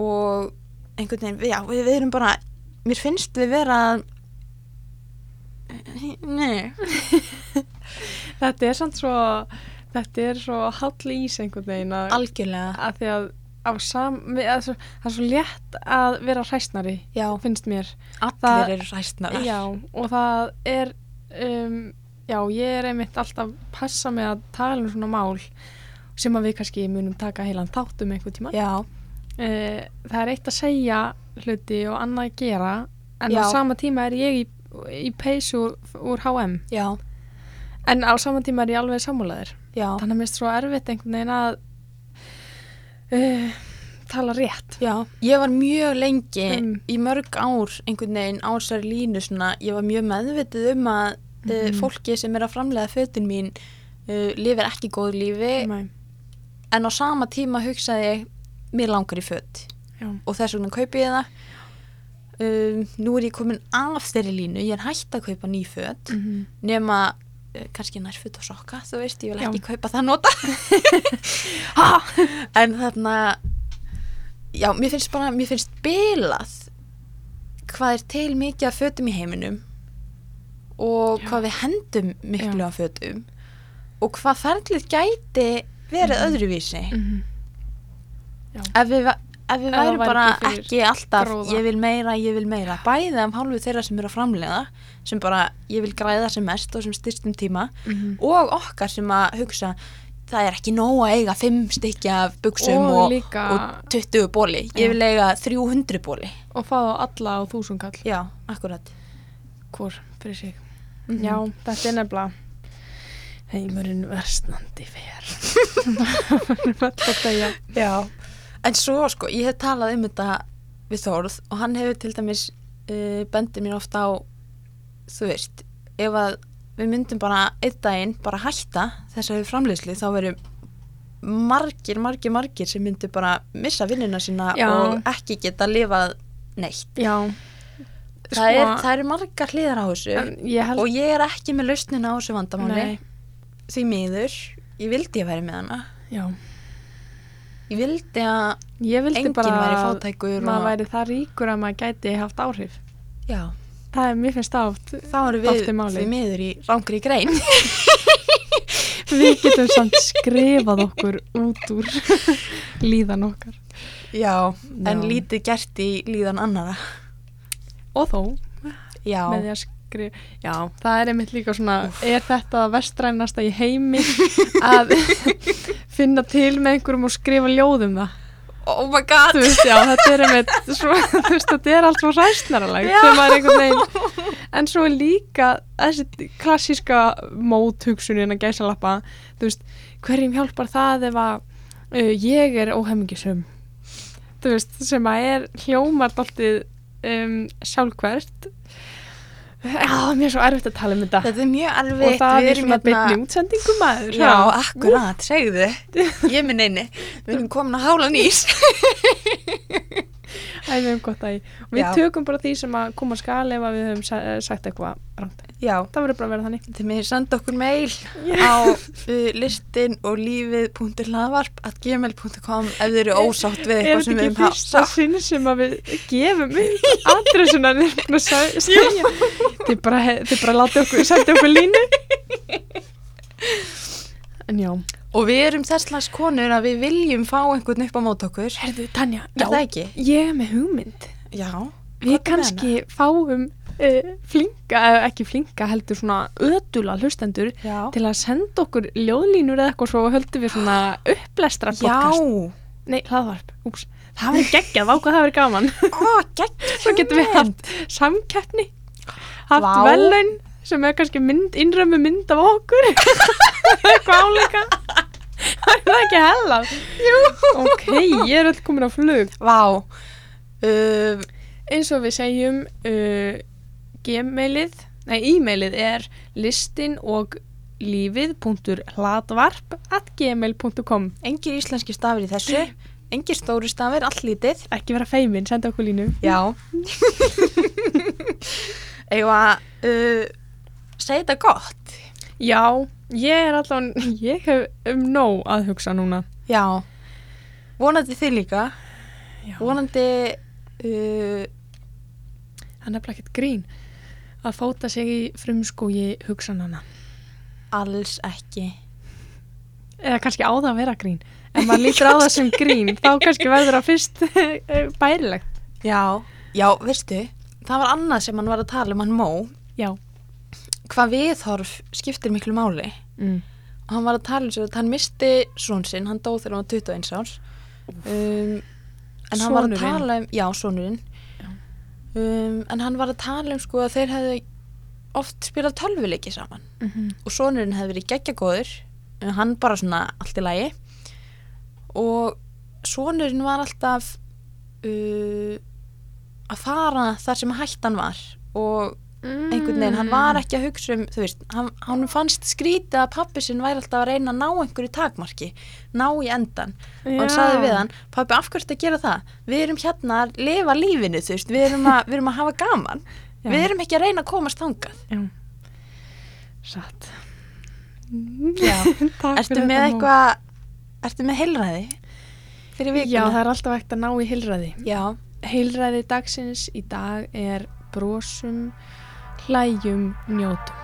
S1: og einhvern veginn, já, við, við erum bara mér finnst við vera að- nei,
S2: þetta er samt svo þetta er svo hall ís einhvern veginn að,
S1: algjörlega
S2: að því að á sam, við- að svo, það er svo létt að vera hræsnari
S1: já,
S2: finnst mér
S1: allir
S2: það-
S1: eru ræstnar
S2: já, og það er um, já, ég er einmitt alltaf passa með að tala um svona mál sem að við kannski munum taka heilan þátt um einhvern tíma
S1: já,
S2: Eh, það er eitt að segja hluti og annað að gera en
S1: Já.
S2: á sama tíma er ég í, í peysu úr, úr H&M
S1: já,
S2: en á sama tíma er ég alveg sammálaður
S1: já,
S2: þannig að mér er svo erfitt einhvern veginn að uh, tala rétt
S1: já ég var mjög lengi
S2: Mm.
S1: í mörg ár einhvern veginn á sér línu svona, ég var mjög meðvitið um að uh,
S2: Mhm.
S1: fólki sem er að framlega fötin mín uh, lifir ekki góð lífi
S2: Nei.
S1: en á sama tíma hugsaði ég mér langar í föt
S2: Já.
S1: og þess vegna kaupi ég það um, nú er ég komin af þeirri línu ég er hægt að kaupa ný föt
S2: Mhm.
S1: nema uh, kannski nærföt og sokka þú veist, ég vil
S2: Já.
S1: ekki kaupa það nota Ha! en þarna já, mér finnst bara, mér finnst bilað hvað er til mikið af fötum í heiminum og
S2: Já.
S1: hvað við hendum miklu
S2: Já.
S1: af fötum og hvað ferlið gæti verið öðruvísi
S2: Mhm.
S1: ef við, va- ef við
S2: Ef það
S1: værum
S2: væri
S1: bara
S2: ekki fyrir
S1: ekki, alltaf
S2: gróða.
S1: ég vil meira, ég vil meira bæðið af hálfu þeirra sem eru að framlega sem bara ég vil græða sem mest og sem styrstum tíma
S2: Mhm.
S1: og okkar sem að hugsa það er ekki nóg að eiga 5 stykki af buksum
S2: Og
S1: og, og,
S2: líka-
S1: 20 bóli
S2: Já.
S1: ég vil eiga 300 bóli
S2: og fá þá alla á þúsungall
S1: já, akkurat
S2: hvor fyrir sig
S1: Mhm.
S2: já, þetta er nefnilega heimurinn versnandi fer þetta já
S1: já. en svo sko, ég hef talað um þetta við Þórð og hann hefur til dæmis uh, bendið mér ofta á þú veist, ef að við myndum bara einn daginn bara hætta þessari framleiðslu þá verðum margir, margir, margir sem myndu bara missa vinnuna sína
S2: Já.
S1: og ekki geta lifað neitt.
S2: já
S1: Það, er, það eru margar hliðar á þessu
S2: Sko- En ég held
S1: og ég er ekki með lausnina á þessu vandamáli
S2: Nei.
S1: því miður, ég vildi að vera með hana
S2: já.
S1: ég vildi að
S2: ég vildi
S1: enginn
S2: bara
S1: væri
S2: að
S1: fátækur
S2: maður
S1: og...
S2: væri það ríkur að maður gæti haft áhrif
S1: Já,
S2: það er mér finnst það oft
S1: þá eru við
S2: Dálítið málið.
S1: því miður í rangri grein
S2: við getum samt skrifað okkur út úr líðan okkar
S1: Já, en
S2: Já.
S1: lítið gert í líðan annara
S2: og þó
S1: Já,
S2: með því að skrifa já, það er einmitt líka svona er þetta það vestrænasta í heimi að finna til með einhverjum og skrifa ljóðum það
S1: oh my
S2: þú
S1: god
S2: veist, já, þetta er einmitt svo, þú veist, þetta er allt svo ræstnaralag
S1: Já.
S2: þegar maður er einhvern veginn en svo er líka þessi klassíska móthugsunin að gæsa lappa þú veist, hverjum hjálpar það ef að uh, ég er óhemmingisum þú veist, sem að er hljómar dáltið um, sjálfkvært Já, mér er svo erfitt að tala um þetta
S1: Þetta er mjög
S2: og
S1: alveg
S2: það er svona beinni útsendingum maður
S1: hérna- Já, akkurat, segðu Ég minn einni Við erum komin að hála nýs
S2: Æ, við höfum gott að ég. Við
S1: Já.
S2: tökum bara því sem að koma að skal ef að við höfum sa- eh, sagt eitthvað rangt.
S1: Já,
S2: Það verður bara að vera þannig.
S1: þið með senda okkur mail á uh, listin og lífið.laðvarp.gmail.com ef þið eru ósátt við
S2: Er
S1: eitthvað sem við
S2: þetta ekki
S1: höfum hafa
S2: fyrsta sinn sem að við gefum adressuna nefnum að sa- segja? Þið bara, he- þið bara láti okkur, sendi okkur línu. En já.
S1: Og við erum þess slags konur að við viljum fá einhvern upp á mót okkur.
S2: Herðu, Tanja,
S1: Er það ekki?
S2: ég er með hugmynd.
S1: Já. Hvað
S2: Við
S1: er
S2: kannski fáum uh, flinka, eða ekki flinka heldur svona ödula hlustendur
S1: með hana?
S2: til að senda okkur ljóðlínur eða eitthvað svo höldum við svona upplestra
S1: Já.
S2: podcast. Nei, hlaðvarp, úps. Það verður geggjað, vákvað það verður gaman.
S1: Ó, gegn.
S2: Svo getum við haft samkeppni, haft
S1: Vá.
S2: velun sem er kannski mynd, innrömmu mynd af okkur. eitthvað áleika. Það er það ekki hella. Jú. Ok, ég er öll komin á flug.
S1: Vá. Uh,
S2: eins og við segjum uh, gmailið, nei e-mailið er listin og lífið.hladvarp at gmail.com
S1: engir íslenski stafir í þessu. Engir stóri stafir, allt lítið.
S2: ekki vera feimin, senda okkur línu
S1: Já. Eða, uh, segi þetta gott.
S2: já, ég er allan ég hef um nóg að hugsa núna
S1: Já. Vonandi þið líka.
S2: Já.
S1: Vonandi, uh,
S2: það er nefnilega ekkert grín að fóta sig í frumskógi hugsanana
S1: alls ekki.
S2: eða kannski á það að vera grín ef maður lítur á það sem grín þá kannski verður það fyrst eh, bærilegt
S1: Já. Já, veistu, það var annað sem hann var að tala um hann Mó.
S2: já
S1: hvað viðhorf skiptir miklu máli
S2: mm.
S1: og hann var að tala um svo að hann misti són sinn, hann dó þegar hann var 21 árs um, en hann var að
S2: Sonurinn.
S1: tala um já, sonurinn
S2: Já.
S1: um, en hann var að tala um sko að þeir hefðu oft spilað tölvuleiki saman
S2: Mm -hmm.
S1: og sonurinn hefði verið geggjagóður en hann bara svona allt í lagi og sonurinn var alltaf uh, að fara þar sem hættan var og Mm. einhvern veginn, hann
S2: Mm.
S1: var ekki að hugsa um þú veist, hann, hann fannst skrítið að pappi sinn væri alltaf að reyna að ná einhverju takmarki ná í endan og hann saði við hann, pappi af hverju ertu að gera það við erum hérna að lifa lífinu þú veist, við erum að, við erum að hafa gaman
S2: Já.
S1: við erum ekki að reyna að komast þangað
S2: Já. Satt.
S1: Já.
S2: Takk
S1: ertu með eitthvað, ertu með heilræði fyrir
S2: Já, það
S1: vikuna
S2: er alltaf ekkert að ná í heilræði.
S1: já,
S2: Heilræði dagsins í dag er brosum, hlæjum, njótum.